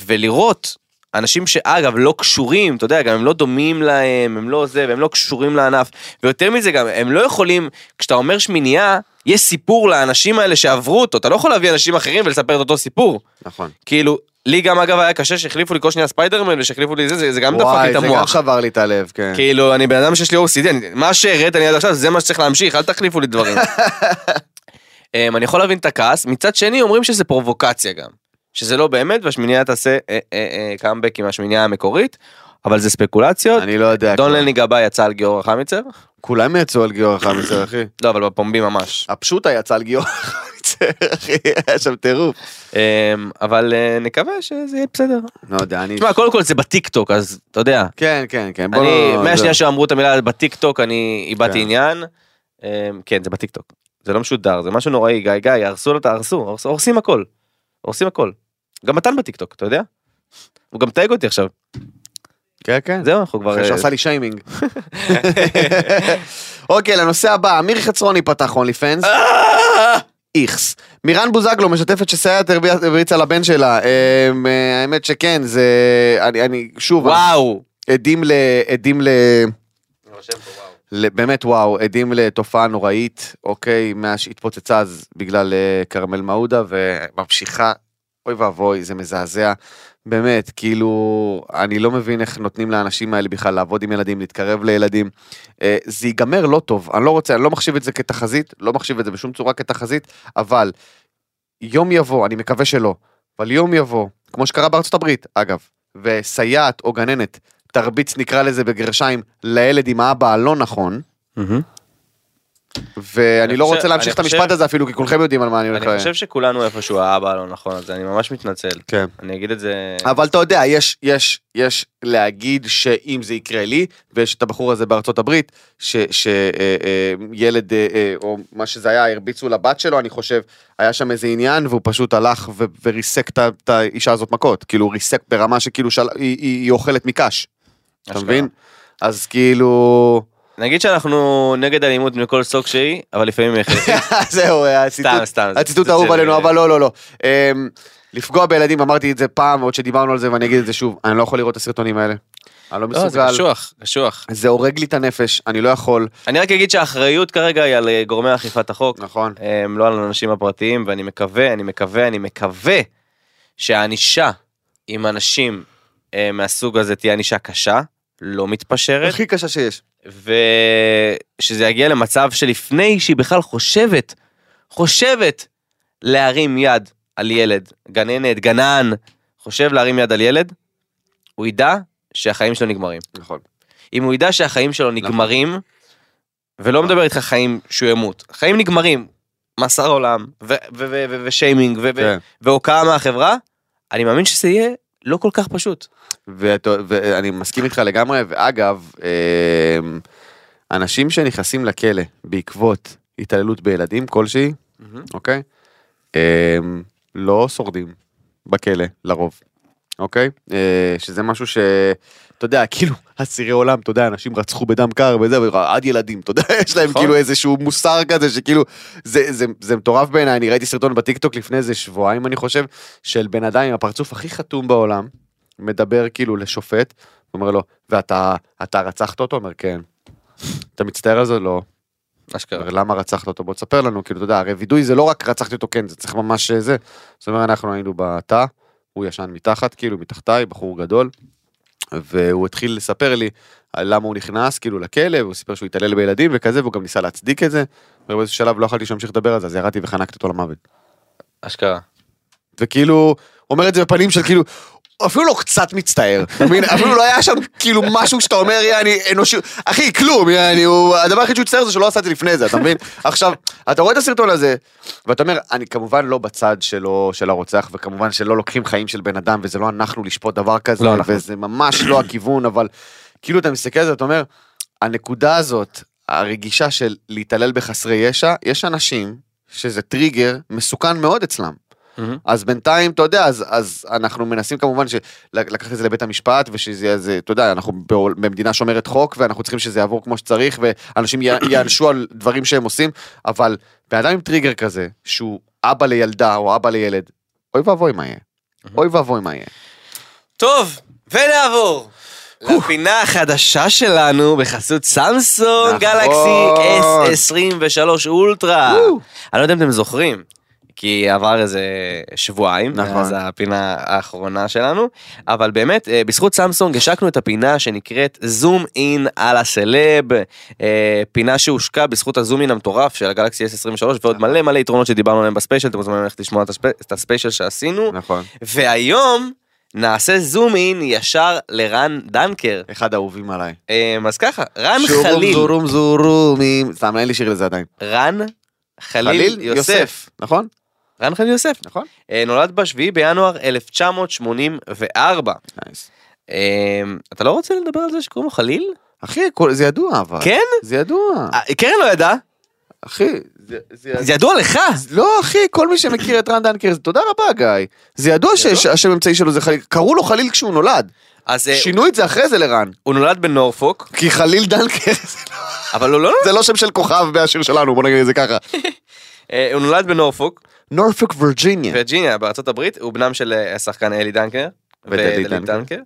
[SPEAKER 3] ולראות אנשים שאגב לא קשורים, אתה יודע, גם הם לא דומים להם, הם לא זה, והם לא קשורים לענף, ויותר מזה גם, הם לא יכולים, כשאתה אומר שמינייה, יש סיפור לאנשים האלה שעברו אותו, אתה לא יכול להביא אנשים אחרים ולספר את אותו סיפור.
[SPEAKER 2] נכון.
[SPEAKER 3] כאילו, לי גם אגב היה קשה שהחליפו לי כל שנייה ספיידרמן ושהחליפו לי זה, זה, זה גם דפק לי
[SPEAKER 2] וואי,
[SPEAKER 3] את
[SPEAKER 2] זה גם
[SPEAKER 3] המוח.
[SPEAKER 2] שבר לי את הלב, כן.
[SPEAKER 3] כאילו, אני בן אדם שיש לי OCD, אני, מה שהראית לי עד עכשיו, זה מה שצריך להמשיך, אל תחליפו לי דברים. אמ, אני יכול להבין את הכעס, מצד שני אומרים שזה פרובוקציה גם. שזה לא באמת, והשמינייה תעשה אה, אה, אה, קאמבק עם השמינייה המקורית, אבל זה ספקולציות.
[SPEAKER 2] אני לא יודע.
[SPEAKER 3] דון
[SPEAKER 2] כבר.
[SPEAKER 3] לני גבאי יצא על גיאורא חמיצר?
[SPEAKER 2] כולם יצאו על גיורא חמיצר, אחי.
[SPEAKER 3] לא, אבל בפומבי ממש.
[SPEAKER 2] הפשוטה יצא על גיורא חמיצר, אחי. היה שם טירוף.
[SPEAKER 3] אמ, אבל אה, נקווה שזה יהיה בסדר.
[SPEAKER 2] לא יודע, אני...
[SPEAKER 3] תשמע, קודם כל זה בטיקטוק, אז אתה יודע.
[SPEAKER 2] כן, כן, כן. בוא
[SPEAKER 3] אני,
[SPEAKER 2] לא...
[SPEAKER 3] מהשנייה
[SPEAKER 2] זה-
[SPEAKER 3] שאמרו את המילה בטיקטוק, אני
[SPEAKER 2] כן.
[SPEAKER 3] איבדתי עניין. אמ, כן, זה בטיקטוק. זה לא משודר, זה משהו נוראי, גיא, גיא, הרסו לו את הרסו, הרס- הורסים הכל. הורסים הכל. גם מתן בטיקטוק, אתה יודע? הוא גם תייג אותי עכשיו.
[SPEAKER 2] כן, כן.
[SPEAKER 3] זהו, אנחנו כבר...
[SPEAKER 2] אחרי
[SPEAKER 3] אה,
[SPEAKER 2] שעשה לי שיימינג. אוקיי, לנושא הבא, אמיר חצרוני פתח הונלי פנס. איכס. מירן בוזגלו משתפת שסייעת הרביע- הרביצה לבן שלה. אמ, אה, האמת שכן, זה... אני- אני שוב,
[SPEAKER 3] וואו.
[SPEAKER 2] עדים ל... עדים ל... ל- באמת וואו, עדים לתופעה נוראית, אוקיי, מאז שהתפוצצה אז בגלל אה, כרמל מעודה וממשיכה, אוי ואבוי, זה מזעזע. באמת, כאילו, אני לא מבין איך נותנים לאנשים האלה בכלל לעבוד עם ילדים, להתקרב לילדים. אה, זה ייגמר לא טוב, אני לא רוצה, אני לא מחשיב את זה כתחזית, לא מחשיב את זה בשום צורה כתחזית, אבל יום יבוא, אני מקווה שלא, אבל יום יבוא, כמו שקרה בארצות הברית, אגב, וסייעת או גננת תרביץ, נקרא לזה בגרשיים, לילד עם האבא הלא נכון, ואני
[SPEAKER 3] אני
[SPEAKER 2] לא
[SPEAKER 3] חושב-
[SPEAKER 2] רוצה להמשיך את
[SPEAKER 3] אני חושב-
[SPEAKER 2] המשפט הזה אפילו, כי כולכם יודעים על מה אני הולך
[SPEAKER 3] אני
[SPEAKER 2] ל...
[SPEAKER 3] חושב שכולנו איפשהו האבא הלא נכון, אז אני ממש מתנצל.
[SPEAKER 2] כן.
[SPEAKER 3] אני אגיד את זה...
[SPEAKER 2] אבל אתה יודע, יש, יש, יש להגיד שאם זה יקרה לי, ויש את הבחור הזה בארצות הברית, שילד, אה, אה, ילד, אה, אה, או מה שזה היה, הרביצו לבת שלו, אני חושב, היה שם איזה עניין, והוא פשוט הלך ו- וריסק את ה- את האישה הזאת מכות. כאילו, ריסק ברמה שכאילו של... היא, היא, היא אוכלת מקש, אתה
[SPEAKER 3] אשכרה.
[SPEAKER 2] מבין? אז כאילו...
[SPEAKER 3] נגיד שאנחנו נגד אלימות מכל סוג שהיא, אבל לפעמים היא הכרחית.
[SPEAKER 2] אה, זהו, הציטוט,
[SPEAKER 3] סתם, סתם, זה- אה,
[SPEAKER 2] הציטוט
[SPEAKER 3] זה-
[SPEAKER 2] האהוב
[SPEAKER 3] זה-
[SPEAKER 2] עלינו, אבל לא, לא, לא. אמ, לפגוע בילדים, אמרתי את זה פעם, עוד שדיברנו על זה, ואני אגיד את זה שוב, אני לא יכול לראות את הסרטונים האלה. אני לא
[SPEAKER 3] לא, זה
[SPEAKER 2] מסוגל.
[SPEAKER 3] קשוח, קשוח.
[SPEAKER 2] זה הורג לי את הנפש, אני לא יכול.
[SPEAKER 3] אני רק אגיד שהאחריות כרגע היא על אה, גורמי אכיפת החוק.
[SPEAKER 2] נכון.
[SPEAKER 3] הם לא על האנשים הפרטיים, ואני מקווה, אני מקווה, אני מקווה שהענישה עם אנשים אה, מהסוג הזה תהיה ענישה קשה, לא מתפשרת,
[SPEAKER 2] הכי קשה שיש.
[SPEAKER 3] ושזה יגיע למצב שלפני שהיא בכלל חושבת, חושבת להרים יד על ילד, גננת, גנן, חושב להרים יד על ילד, הוא ידע שהחיים שלו נגמרים.
[SPEAKER 2] נכון.
[SPEAKER 3] אם הוא ידע שהחיים שלו נגמרים, ולא מדבר איתך חיים שהוא ימות, חיים נגמרים, מאסר עולם, ו- ו- ו- ו- ושיימינג, ו- ו-
[SPEAKER 2] כן.
[SPEAKER 3] והוקעה מהחברה, אני מאמין שזה יהיה לא כל כך פשוט.
[SPEAKER 2] ואת- ואני מסכים איתך לגמרי, ואגב, אמ, אנשים שנכנסים לכלא בעקבות התעללות בילדים כלשהי, אוקיי? אמ, לא שורדים בכלא לרוב, אוקיי? אה, שזה משהו ש... אתה יודע, כאילו, אסירי עולם, אתה יודע, אנשים רצחו בדם קר וזה, אבל עד ילדים, אתה יודע, יש להם
[SPEAKER 3] נכון.
[SPEAKER 2] כאילו איזשהו מוסר כזה, שכאילו, זה, זה, זה מטורף בעיניי, אני ראיתי סרטון בטיקטוק לפני איזה שבועיים, אני חושב, של בן אדם עם הפרצוף הכי חתום בעולם, מדבר כאילו לשופט, אומר לו, ואתה אתה רצחת אותו? אומר, כן. אתה מצטער על זה? לא.
[SPEAKER 3] אשכרה.
[SPEAKER 2] אומר, למה רצחת אותו? בוא תספר לנו, כאילו, אתה יודע, הרי וידוי זה לא רק רצחתי אותו, כן, זה צריך ממש אה, זה. זאת אומרת, אנחנו היינו בתא, הוא ישן מתחת, כאילו, מתחתיי, בחור גדול, והוא התחיל לספר לי על למה הוא נכנס, כאילו, לכלא, והוא סיפר שהוא התעלל בילדים וכזה, והוא גם ניסה להצדיק את זה. ובאיזשהו שלב לא יכולתי שימשיך לדבר על זה, אז ירדתי וחנקתי אותו למוות.
[SPEAKER 3] אשכרה.
[SPEAKER 2] וכאילו, הוא אומר את זה בפנים של כאילו, הוא אפילו לא קצת מצטער, אתה מבין? אפילו לא היה שם כאילו משהו שאתה אומר, יעני, אנושי, אחי, כלום, יעני, הוא- הדבר היחיד שהוא הצטער זה שלא עשה את זה לפני זה, אתה מבין? עכשיו, אתה רואה את הסרטון הזה, ואתה אומר, אני כמובן לא בצד שלו, של הרוצח, וכמובן שלא לוקחים חיים של בן אדם, וזה לא אנחנו לשפוט דבר כזה,
[SPEAKER 3] לא אנחנו.
[SPEAKER 2] וזה ממש לא הכיוון, אבל כאילו אתה מסתכל על זה, אתה אומר, הנקודה הזאת, הרגישה של להתעלל בחסרי ישע, יש אנשים שזה טריגר מסוכן מאוד אצלם. אז בינתיים, אתה יודע, אז, אז אנחנו מנסים כמובן של- לקחת את זה לבית המשפט, ושזה יהיה, זה- אתה יודע, אנחנו בעול- במדינה שומרת חוק, ואנחנו צריכים שזה יעבור כמו שצריך, ואנשים י- ייענשו על דברים שהם עושים, אבל בן אדם עם טריגר כזה, שהוא אבא לילדה או אבא לילד, אוי ואבוי מה יהיה. אוי ואבוי מה יהיה.
[SPEAKER 3] טוב, ונעבור. לפינה החדשה שלנו בחסות סמסונג
[SPEAKER 2] נכון.
[SPEAKER 3] גלקסי S23 אולטרה. אני לא יודע אם אתם זוכרים, כי עבר איזה שבועיים,
[SPEAKER 2] נכון.
[SPEAKER 3] מאז הפינה האחרונה שלנו, אבל באמת, אה, בזכות סמסונג השקנו את הפינה שנקראת זום אין על הסלב, אה, פינה שהושקה בזכות הזום אין המטורף של הגלקסי S23
[SPEAKER 2] נכון.
[SPEAKER 3] ועוד מלא מלא יתרונות שדיברנו עליהם בספיישל, אתם מוזמנים ללכת לשמוע את הספ- את הספיישל שעשינו.
[SPEAKER 2] נכון.
[SPEAKER 3] והיום נעשה זום אין ישר לרן דנקר.
[SPEAKER 2] אחד האהובים עליי.
[SPEAKER 3] אמ, אז ככה, רן
[SPEAKER 2] שורום
[SPEAKER 3] חליל,
[SPEAKER 2] זורום זורומים. סתם, אין לי שיר לזה עדיין.
[SPEAKER 3] רן חליל יוסף,
[SPEAKER 2] נכון?
[SPEAKER 3] רן חליל יוסף,
[SPEAKER 2] נכון.
[SPEAKER 3] אה, נולד ב-7 בינואר 1984.
[SPEAKER 2] Nice.
[SPEAKER 3] אמ, אתה לא רוצה לדבר על זה שקוראים לו חליל?
[SPEAKER 2] אחי, כל- זה ידוע אבל.
[SPEAKER 3] כן?
[SPEAKER 2] זה ידוע.
[SPEAKER 3] אה, קרן לא ידעה,
[SPEAKER 2] אחי, זה- זה ידוע.
[SPEAKER 3] זה ידוע לך.
[SPEAKER 2] לא אחי, כל מי שמכיר את רן דנקר, זה- תודה רבה גיא. זה ידוע שהשם אמצעי שלו זה חליל, קראו לו חליל כשהוא נולד.
[SPEAKER 3] אז אה,
[SPEAKER 2] שינו את זה אחרי זה לרן.
[SPEAKER 3] הוא נולד בנורפוק,
[SPEAKER 2] כי חליל דנקר זה לא-
[SPEAKER 3] אבל הוא לא
[SPEAKER 2] זה לא שם של כוכב מהשיר שלנו, בוא נגיד את זה ככה.
[SPEAKER 3] אה, הוא נולד בנורפוק,
[SPEAKER 2] נורפוק וירג'יניה.
[SPEAKER 3] וירג'יניה בארצות הברית, הוא בנם של אה, השחקן אלי דנקר.
[SPEAKER 2] ודדי
[SPEAKER 3] ודדי
[SPEAKER 2] דנקר.
[SPEAKER 3] דנקר.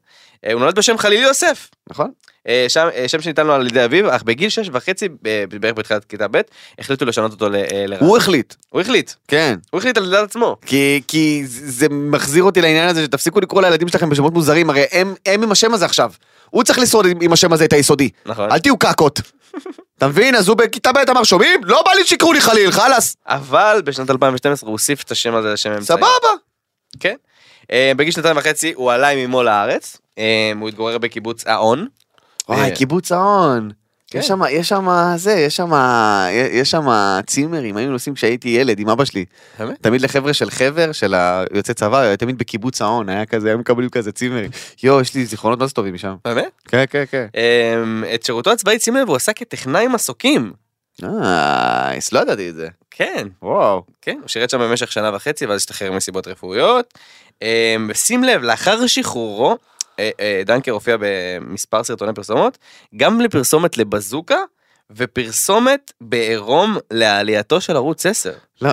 [SPEAKER 3] אה, הוא נולד בשם חליל יוסף.
[SPEAKER 2] נכון?
[SPEAKER 3] אה, שם, אה, שם שניתן לו על ידי אביו, אך בגיל שש וחצי, אה, בערך בתחילת כיתה ב', החליטו לשנות אותו ל- אה, לרע.
[SPEAKER 2] הוא החליט.
[SPEAKER 3] הוא החליט,
[SPEAKER 2] כן.
[SPEAKER 3] הוא החליט על ידי עצמו.
[SPEAKER 2] כי, כי זה זה מחזיר אותי לעניין הזה שתפסיקו לקרוא לילדים שלכם בשמות מוזרים, הרי הם, הם עם השם הזה עכשיו. הוא צריך לשרוד עם- עם השם הזה את היסודי.
[SPEAKER 3] נכון.
[SPEAKER 2] אל תהיו קקות. אתה מבין? אז הוא בכיתה ב' אמר, שומעים? לא בא לי שיקראו לי חליל, חלאס.
[SPEAKER 3] אבל בשנת 2012 הוא הוסיף את השם הזה לשם אמצעי.
[SPEAKER 2] סבבה.
[SPEAKER 3] כן. אה, בגיל שנתיים וחצי הוא עלה עם אמו לארץ, אה, הוא התגורר בקיבוץ האון.
[SPEAKER 2] וואי,
[SPEAKER 3] אה.
[SPEAKER 2] קיבוץ ההון.
[SPEAKER 3] כן.
[SPEAKER 2] יש שם, יש שם זה, יש שם, יש שם צימרים, היינו נוסעים כשהייתי ילד עם אבא שלי.
[SPEAKER 3] באמת?
[SPEAKER 2] תמיד לחבר'ה של חבר, של היוצא צבא, היה תמיד בקיבוץ ההון, היה כזה, היו מקבלים כזה צימרים. יואו, יש לי זיכרונות מה זה טובים משם.
[SPEAKER 3] באמת?
[SPEAKER 2] כן, כן, כן.
[SPEAKER 3] אה, את שירותו הצבאי שים לב הוא עשה כטכנאי מסוקים.
[SPEAKER 2] נייס, לא ידעתי את זה.
[SPEAKER 3] כן.
[SPEAKER 2] וואו.
[SPEAKER 3] כן, הוא שירת שם במשך שנה וחצי ואז השתחרר מסיבות רפואיות. אה, שים לב, לאחר שחרורו, אה, אה, דנקר הופיע במספר סרטוני פרסומות, גם לפרסומת לבזוקה ופרסומת לא, בעירום לעלייתו של ערוץ 10.
[SPEAKER 2] לא,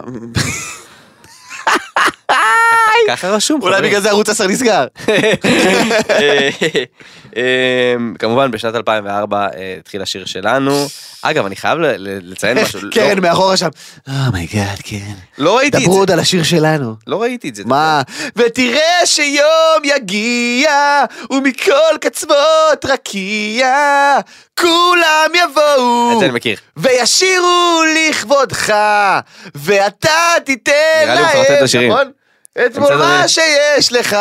[SPEAKER 3] ככה רשום.
[SPEAKER 2] אולי
[SPEAKER 3] חברים.
[SPEAKER 2] בגלל זה ערוץ 10 נסגר.
[SPEAKER 3] אה, אה, כמובן בשנת 2004 אה, התחיל השיר שלנו. אגב, אני חייב ל- ל- לציין
[SPEAKER 2] איך
[SPEAKER 3] משהו. לא-
[SPEAKER 2] קרן מאחורה שם, Oh אומייגאד, קרן.
[SPEAKER 3] לא ראיתי את
[SPEAKER 2] כן, דברו
[SPEAKER 3] זה.
[SPEAKER 2] עוד על השיר שלנו.
[SPEAKER 3] לא ראיתי את זה.
[SPEAKER 2] מה? ותראה שיום יגיע, ומכל קצוות רקיע, כולם יבואו,
[SPEAKER 3] את זה אני מכיר.
[SPEAKER 2] וישירו לכבודך, ואתה תיתן
[SPEAKER 3] נראה לי הוא מפרטט את
[SPEAKER 2] להם,
[SPEAKER 3] השירים.
[SPEAKER 2] נכון? את כל
[SPEAKER 3] המצאת
[SPEAKER 2] מה
[SPEAKER 3] לי.
[SPEAKER 2] שיש לך,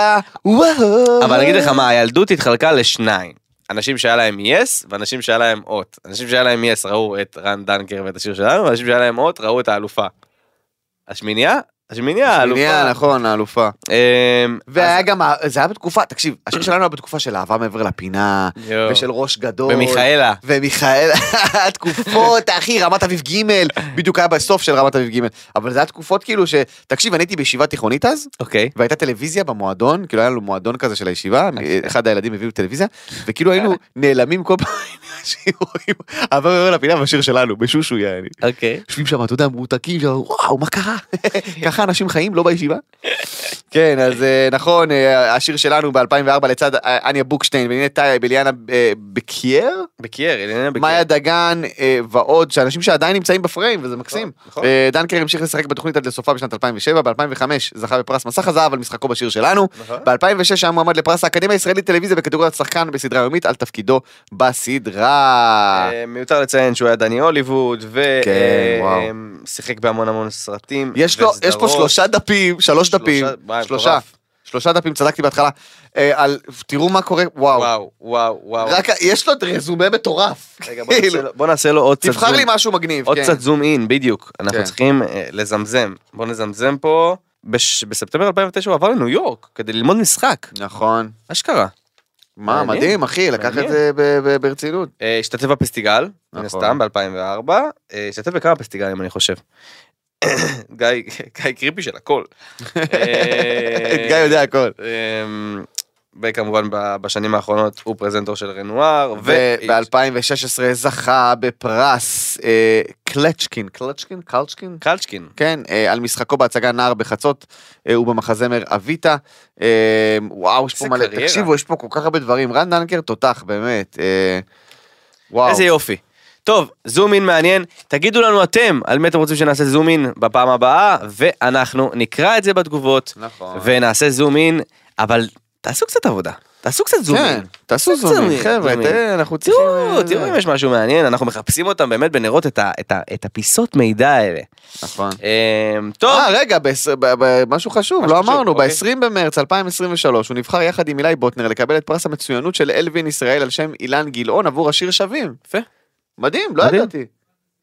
[SPEAKER 2] וואו.
[SPEAKER 3] אבל אני אגיד לך מה, הילדות התחלקה לשניים. אנשים שהיה להם יס, ואנשים שהיה להם אות. אנשים שהיה להם יס ראו את רן דנקר ואת השיר שלנו, ואנשים שהיה להם אות ראו את האלופה. השמינייה? השמינייה,
[SPEAKER 2] שנייה,
[SPEAKER 3] האלופה.
[SPEAKER 2] נכון, האלופה.
[SPEAKER 3] אמ,
[SPEAKER 2] והיה גם, ה- זה היה בתקופה, תקשיב, השיר שלנו היה בתקופה של אהבה מעבר לפינה,
[SPEAKER 3] יואו.
[SPEAKER 2] ושל ראש גדול.
[SPEAKER 3] ומיכאלה.
[SPEAKER 2] ומיכאל, התקופות, אחי, רמת אביב ג', בדיוק היה בסוף של רמת אביב ג', אבל זה היה תקופות כאילו ש... תקשיב, אני הייתי בישיבה תיכונית אז,
[SPEAKER 3] אוקיי.
[SPEAKER 2] והייתה טלוויזיה במועדון, כאילו היה לנו מועדון כזה של הישיבה, אחד הילדים הביאו טלוויזיה, וכאילו היינו נעלמים כל פעם שרואים, אהבה מעבר לפינה והשיר שלנו, בשושו יעני.
[SPEAKER 3] אוקיי.
[SPEAKER 2] יושבים שם, אתה יודע, מרותקים, שם, וואו, מה קרה? ככה אנשים חיים, לא בישיבה? כן, אז אה, נכון, אה, השיר שלנו ב-2004 לצד אה, אניה בוקשטיין ונינה טייב, אליאנה אה, בקייר,
[SPEAKER 3] בקייר, אלינה בקייר.
[SPEAKER 2] מאיה דגן אה, ועוד, שאנשים שעדיין נמצאים בפריים, וזה מקסים.
[SPEAKER 3] נכון.
[SPEAKER 2] אה, דנקר המשיך לשחק בתוכנית עד לסופה בשנת 2007, ב-2005 זכה בפרס מסך הזהב על משחקו בשיר שלנו,
[SPEAKER 3] נכון.
[SPEAKER 2] ב-2006 היה מועמד לפרס האקדמיה הישראלית טלוויזיה בקטגוריית שחקן בסדרה יומית על תפקידו בסדרה.
[SPEAKER 3] אה, מיותר לציין שהוא היה דני הוליווד,
[SPEAKER 2] כן, וואו.
[SPEAKER 3] ושיחק בהמון המון סרטים.
[SPEAKER 2] יש לו, יש פה
[SPEAKER 3] וסדרות.
[SPEAKER 2] שלושה דפים, שלוש
[SPEAKER 3] שלושה-
[SPEAKER 2] דפים,
[SPEAKER 3] וואי,
[SPEAKER 2] שלושה,
[SPEAKER 3] מטורף.
[SPEAKER 2] שלושה דפים, צדקתי בהתחלה, אה, על, תראו מה קורה, וואו,
[SPEAKER 3] וואו, וואו, וואו.
[SPEAKER 2] רק, יש לו רזומה מטורף,
[SPEAKER 3] רגע, בוא
[SPEAKER 2] כאילו.
[SPEAKER 3] נעשה לו- בוא נעשה לו עוד קצת
[SPEAKER 2] תבחר
[SPEAKER 3] זום.
[SPEAKER 2] לי משהו מגניב,
[SPEAKER 3] עוד
[SPEAKER 2] כן.
[SPEAKER 3] קצת זום אין, בדיוק. אנחנו
[SPEAKER 2] כן.
[SPEAKER 3] צריכים אה, לזמזם. בוא נזמזם פה. בש- בספטמבר 2009 הוא עבר לניו יורק כדי ללמוד משחק.
[SPEAKER 2] נכון,
[SPEAKER 3] אשכרה.
[SPEAKER 2] מה,
[SPEAKER 3] מעניין,
[SPEAKER 2] מדהים, אחי, לקח את
[SPEAKER 3] מעניין.
[SPEAKER 2] זה ב- ב- ברצינות.
[SPEAKER 3] אה, השתתף בפסטיגל, מן
[SPEAKER 2] נכון.
[SPEAKER 3] הסתם, ב-2004. השתתף בכמה פסטיגלים, אני חושב. גיא גיא קריפי של הכל. אה,
[SPEAKER 2] גיא יודע הכל.
[SPEAKER 3] אמ, וכמובן ב- בשנים האחרונות הוא פרזנטור של רנואר.
[SPEAKER 2] וב-2016 זכה בפרס אה, קלצ'קין, קלצ'קין? קלצ'קין?
[SPEAKER 3] קלצ'קין.
[SPEAKER 2] כן, אה, על משחקו בהצגה נער בחצות, אה, ובמחזמר אביטה. אה, וואו, יש פה
[SPEAKER 3] איזה
[SPEAKER 2] מלא,
[SPEAKER 3] קריירה.
[SPEAKER 2] תקשיבו, יש פה כל כך הרבה דברים. רן דנקר תותח, באמת. אה, וואו. כן,
[SPEAKER 3] איזה יופי. טוב, זום אין מעניין. תגידו לנו אתם על מי אתם רוצים שנעשה זום אין בפעם הבאה, ואנחנו נקרא את זה בתגובות,
[SPEAKER 2] נכון.
[SPEAKER 3] ונעשה זום אין, אבל תעשו קצת עבודה. תעשו קצת זום
[SPEAKER 2] כן,
[SPEAKER 3] אין.
[SPEAKER 2] תעשו
[SPEAKER 3] קצת
[SPEAKER 2] זומים,
[SPEAKER 3] זום אין,
[SPEAKER 2] חבר'ה,
[SPEAKER 3] זום אין.
[SPEAKER 2] תראה, אנחנו צריכים...
[SPEAKER 3] תראו,
[SPEAKER 2] אה,
[SPEAKER 3] תראו אם יש משהו מעניין, אנחנו מחפשים אותם באמת בנרות את ה- את ה- את הפיסות מידע האלה.
[SPEAKER 2] נכון.
[SPEAKER 3] אמ, טוב,
[SPEAKER 2] אה, רגע, בעשר- ב- ב- משהו חשוב,
[SPEAKER 3] משהו
[SPEAKER 2] לא
[SPEAKER 3] חשוב,
[SPEAKER 2] אמרנו,
[SPEAKER 3] אוקיי.
[SPEAKER 2] ב-20 במרץ 2023 הוא נבחר יחד עם אילי בוטנר לקבל את פרס המצוינות של אלווין ישראל על שם אילן גילאון עבור השיר שווים.
[SPEAKER 3] יפה.
[SPEAKER 2] מדהים, לא
[SPEAKER 3] מדהים.
[SPEAKER 2] ידעתי.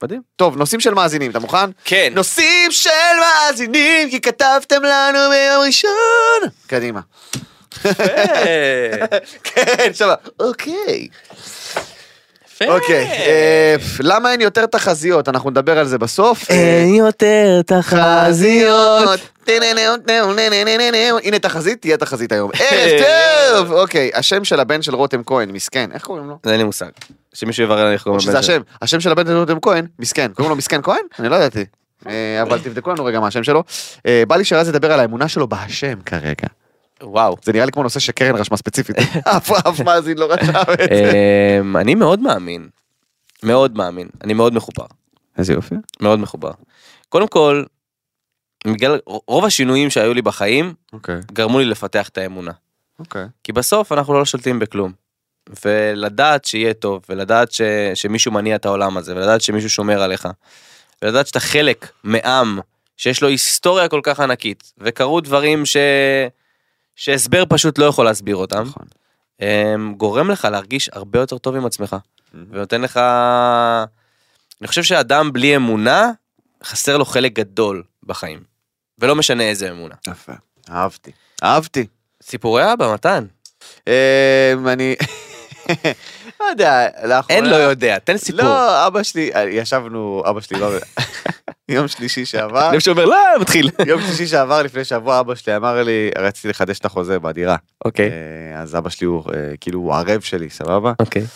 [SPEAKER 3] מדהים.
[SPEAKER 2] טוב, נושאים של מאזינים, אתה מוכן?
[SPEAKER 3] כן.
[SPEAKER 2] נושאים של מאזינים, כי כתבתם לנו ביום ראשון. קדימה.
[SPEAKER 3] יפה.
[SPEAKER 2] כן, שמה. אוקיי.
[SPEAKER 3] יפה.
[SPEAKER 2] אוקיי, אה, למה אין יותר תחזיות? אנחנו נדבר על זה בסוף.
[SPEAKER 3] אין יותר תחזיות.
[SPEAKER 2] הנה תחזית, תהיה תחזית היום. ערב טוב! אוקיי, השם של הבן של רותם כהן, מסכן, איך קוראים לו?
[SPEAKER 3] אין לי מושג. שמישהו יברר לי איך קוראים
[SPEAKER 2] שזה השם, השם של הבן של רותם כהן, מסכן. קוראים לו מסכן כהן? אני לא ידעתי. אה, אבל תבדקו לנו רגע מה השם שלו. אה, בא לי שרז ידבר על האמונה שלו בהשם כרגע.
[SPEAKER 3] וואו.
[SPEAKER 2] זה נראה לי כמו נושא שקרן רשמה ספציפית. אף אף מאזין לא רשם את זה.
[SPEAKER 3] אמ, אני מאוד מאמין. מאוד מאמין. אני מאוד מחובר.
[SPEAKER 2] איזה יופי.
[SPEAKER 3] מאוד מחובר. קודם כל, בגלל רוב השינויים שהיו לי בחיים,
[SPEAKER 2] אוקיי,
[SPEAKER 3] גרמו לי לפתח את האמונה.
[SPEAKER 2] אוקיי.
[SPEAKER 3] כי בסוף אנחנו לא שולטים בכלום. ולדעת שיהיה טוב, ולדעת ש, שמישהו מניע את העולם הזה, ולדעת שמישהו שומר עליך, ולדעת שאתה חלק מעם שיש לו היסטוריה כל כך ענקית, וקרו דברים ש, שהסבר פשוט לא יכול להסביר אותם,
[SPEAKER 2] נכון.
[SPEAKER 3] אמ, גורם לך להרגיש הרבה יותר טוב עם עצמך, ונותן לך... אני חושב שאדם בלי אמונה, חסר לו חלק גדול בחיים, ולא משנה איזה אמונה.
[SPEAKER 2] יפה. אהבתי. אהבתי.
[SPEAKER 3] סיפורי אבא, מתן,
[SPEAKER 2] אמ, אני... לא יודע, לאחרונה...
[SPEAKER 3] אין לא יודע, תן סיפור.
[SPEAKER 2] לא, אבא שלי, ישבנו, אבא שלי, לא- יום שלישי שעבר,
[SPEAKER 3] לב שאומר, לא, מתחיל.
[SPEAKER 2] יום שלישי שעבר לפני שבוע אבא שלי אמר לי, רציתי לחדש את החוזה בדירה.
[SPEAKER 3] אוקיי.
[SPEAKER 2] אה, אז אבא שלי הוא אה, כאילו הוא ערב שלי, סבבה?
[SPEAKER 3] אוקיי.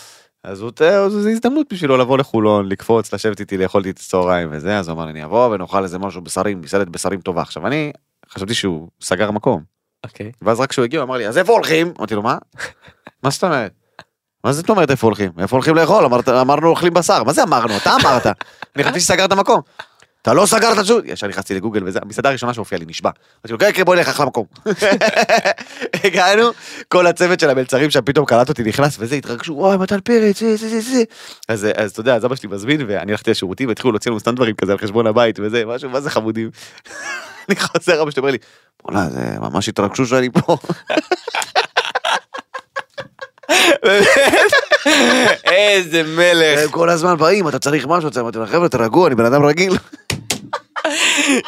[SPEAKER 2] אז הוא, אה, זו זו הזדמנות בשבילו לבוא לחולון, לקפוץ, לשבת איתי, לאכול איתי את הצהריים וזה, אז הוא אמר לי, אני אבוא ונאכל איזה משהו בשרים, מסעדת בשרים טובה. עכשיו אני חשבתי שהוא סגר מקום.
[SPEAKER 3] אוקיי.
[SPEAKER 2] ואז רק כשהוא הגיע, הוא אמר לי, אז איפה הולכים? אמרתי לו, מה? מה זאת אומרת? מה זאת אומרת איפה הולכים? איפה הולכים לאכול? אמרת, אמרנו אוכלים בשר. מה זה אמרנו? אתה אמרת. אני חשבתי שסגרת מקום. אתה לא סגרת שוב. ישר נכנסתי לגוגל וזה, המסעדה הראשונה שהופיעה לי, נשבע. אמרתי לו, כן, כן, בוא נלך אחלה מקום. הגענו, כל הצוות של המלצרים שם פתאום קלט אותי, נכנס וזה, התרגשו, וואי, מתן פרץ, זה, זה, זה, זה. אז אז אתה יודע, אז אבא שלי מזמין, ואני הלכתי לשירותים, והתחילו להוציא לנו סתם דברים כזה על חשבון הבית וזה, משהו, מה זה חמודים. אני חוזר, אבא שלי אומר לי, בוא'נה, זה ממש התרגשו שאני פה.
[SPEAKER 3] איזה מלך.
[SPEAKER 2] הם כל הזמן באים, אתה צריך משהו, אתה- אמרתי להם, חבר'ה, תרגעו, אני בן אדם רגיל.
[SPEAKER 3] אה.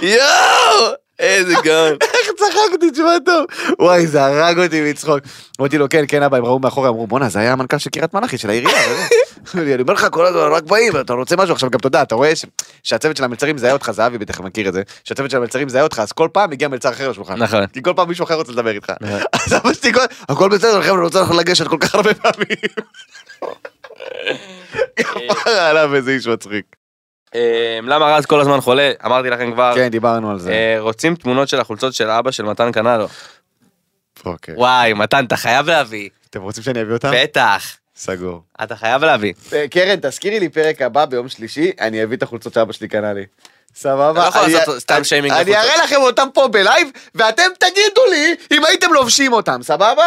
[SPEAKER 3] יואו! איזה גאון.
[SPEAKER 2] איך צחקתי, תשמע טוב. וואי, זה הרג אותי מצחוק. אמרתי לו, כן, כן, אבא, הם ראו מאחורי, אמרו, בואנה, זה היה המנכ"ל של קריית מלאכי, של העירייה. וזה." אני אומר לך, כל הזמן רק באים, אתה רוצה משהו, עכשיו גם אתה יודע, אתה רואה ש- שהצוות של המלצרים זהה אותך, זהבי בטח מכיר את זה, שהצוות של המלצרים זהה אותך, אז כל פעם מגיע מלצר אחר לשולחן.
[SPEAKER 3] נכון.
[SPEAKER 2] כי כל פעם מישהו אחר רוצה לדבר איתך. אז אבא שלי, כל- הכל בסדר, חבר'ה, אני רוצה לך לגשת כל כך הרבה פעמים. כפרה עליו איזה איש מצחיק.
[SPEAKER 3] אה, למה רז כל הזמן חולה? אמרתי לכם כבר.
[SPEAKER 2] כן, דיברנו על זה.
[SPEAKER 3] אה, רוצים תמונות של החולצות של אבא של מתן קנלו.
[SPEAKER 2] אוקיי.
[SPEAKER 3] וואי, מתן, אתה חייב להביא.
[SPEAKER 2] אתם רוצים שאני אביא אותם?
[SPEAKER 3] בטח.
[SPEAKER 2] סגור.
[SPEAKER 3] אתה חייב להביא.
[SPEAKER 2] אה, קרן, תזכירי לי פרק הבא ביום שלישי, אני אביא את החולצות שאבא שלי קנה לי. סבבה?
[SPEAKER 3] אתה לא יכול
[SPEAKER 2] אני-
[SPEAKER 3] לעשות סתם
[SPEAKER 2] אני-
[SPEAKER 3] שיימינג
[SPEAKER 2] אני
[SPEAKER 3] לחולצות.
[SPEAKER 2] אראה לכם אותם פה בלייב, ואתם תגידו לי אם הייתם לובשים אותם, סבבה?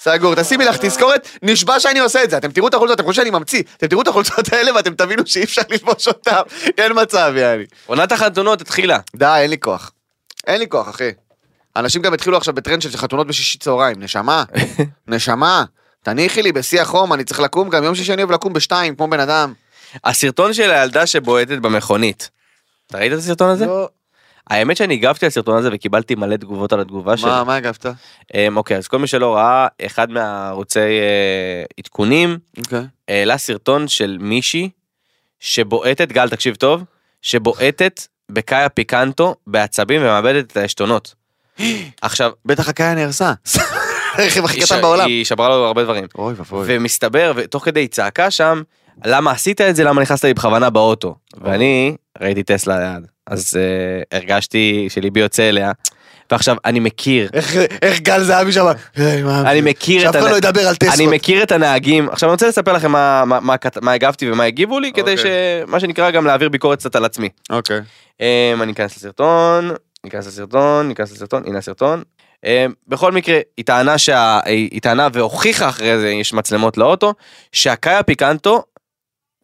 [SPEAKER 2] סגור, תשימי לך תזכורת, נשבע שאני עושה את זה, אתם תראו את החולצות, אתם חושבים שאני ממציא, אתם תראו את החולצות האלה ואתם תבינו שאי אפשר ללבוש אותם, אין מצב יעני.
[SPEAKER 3] עונת החתונות התחילה.
[SPEAKER 2] די, אין לי כוח. אין לי כוח, אחי. אנשים גם התחילו עכשיו בטרנד של חתונות בשישי צהריים, נשמה, נשמה, תניחי לי בשיא החום, אני צריך לקום גם יום שישי אני אוהב לקום בשתיים, כמו בן אדם.
[SPEAKER 3] הסרטון של הילדה שבועטת במכונית. אתה ראית את הסרטון הזה?
[SPEAKER 2] לא.
[SPEAKER 3] האמת שאני הגבתי לסרטון הזה וקיבלתי מלא תגובות על התגובה שלי.
[SPEAKER 2] מה, מה הגבת?
[SPEAKER 3] אמ, אוקיי, אז כל מי שלא ראה, אחד מהערוצי אה, עדכונים
[SPEAKER 2] אוקיי.
[SPEAKER 3] העלה סרטון של מישהי שבועטת, גל תקשיב טוב, שבועטת בקאיה פיקנטו בעצבים ומאבדת את העשתונות. עכשיו,
[SPEAKER 2] בטח הקאיה נהרסה. הרכב הכי
[SPEAKER 3] היא ש-
[SPEAKER 2] קטן בעולם.
[SPEAKER 3] היא שברה לו הרבה דברים.
[SPEAKER 2] אוי ואבוי.
[SPEAKER 3] ומסתבר, ותוך כדי היא צעקה שם, למה עשית את זה, למה נכנסת לי בכוונה באוטו. ואני ראיתי טסלה ליד, אז אה, הרגשתי שליבי יוצא אליה. ועכשיו, אני מכיר,
[SPEAKER 2] איך- איך גל זהבי שם? היי, מה-
[SPEAKER 3] אני מכיר את
[SPEAKER 2] שאף אחד
[SPEAKER 3] הנ-
[SPEAKER 2] לא ידבר על
[SPEAKER 3] אני
[SPEAKER 2] טסלות.
[SPEAKER 3] מכיר את הנהגים. עכשיו אני רוצה לספר לכם מה- מה- מה כת- מה הגבתי ומה הגיבו לי, כדי ש... מה שנקרא גם להעביר ביקורת קצת על עצמי.
[SPEAKER 2] אוקיי.
[SPEAKER 3] אמ, אני אכנס לסרטון, ניכנס לסרטון, ניכנס לסרטון, הנה הסרטון. אמ, בכל מקרה, היא טענה, שה... היא היא טענה והוכיחה אחרי זה, יש מצלמות לאוטו, שהקאיה פיקנטו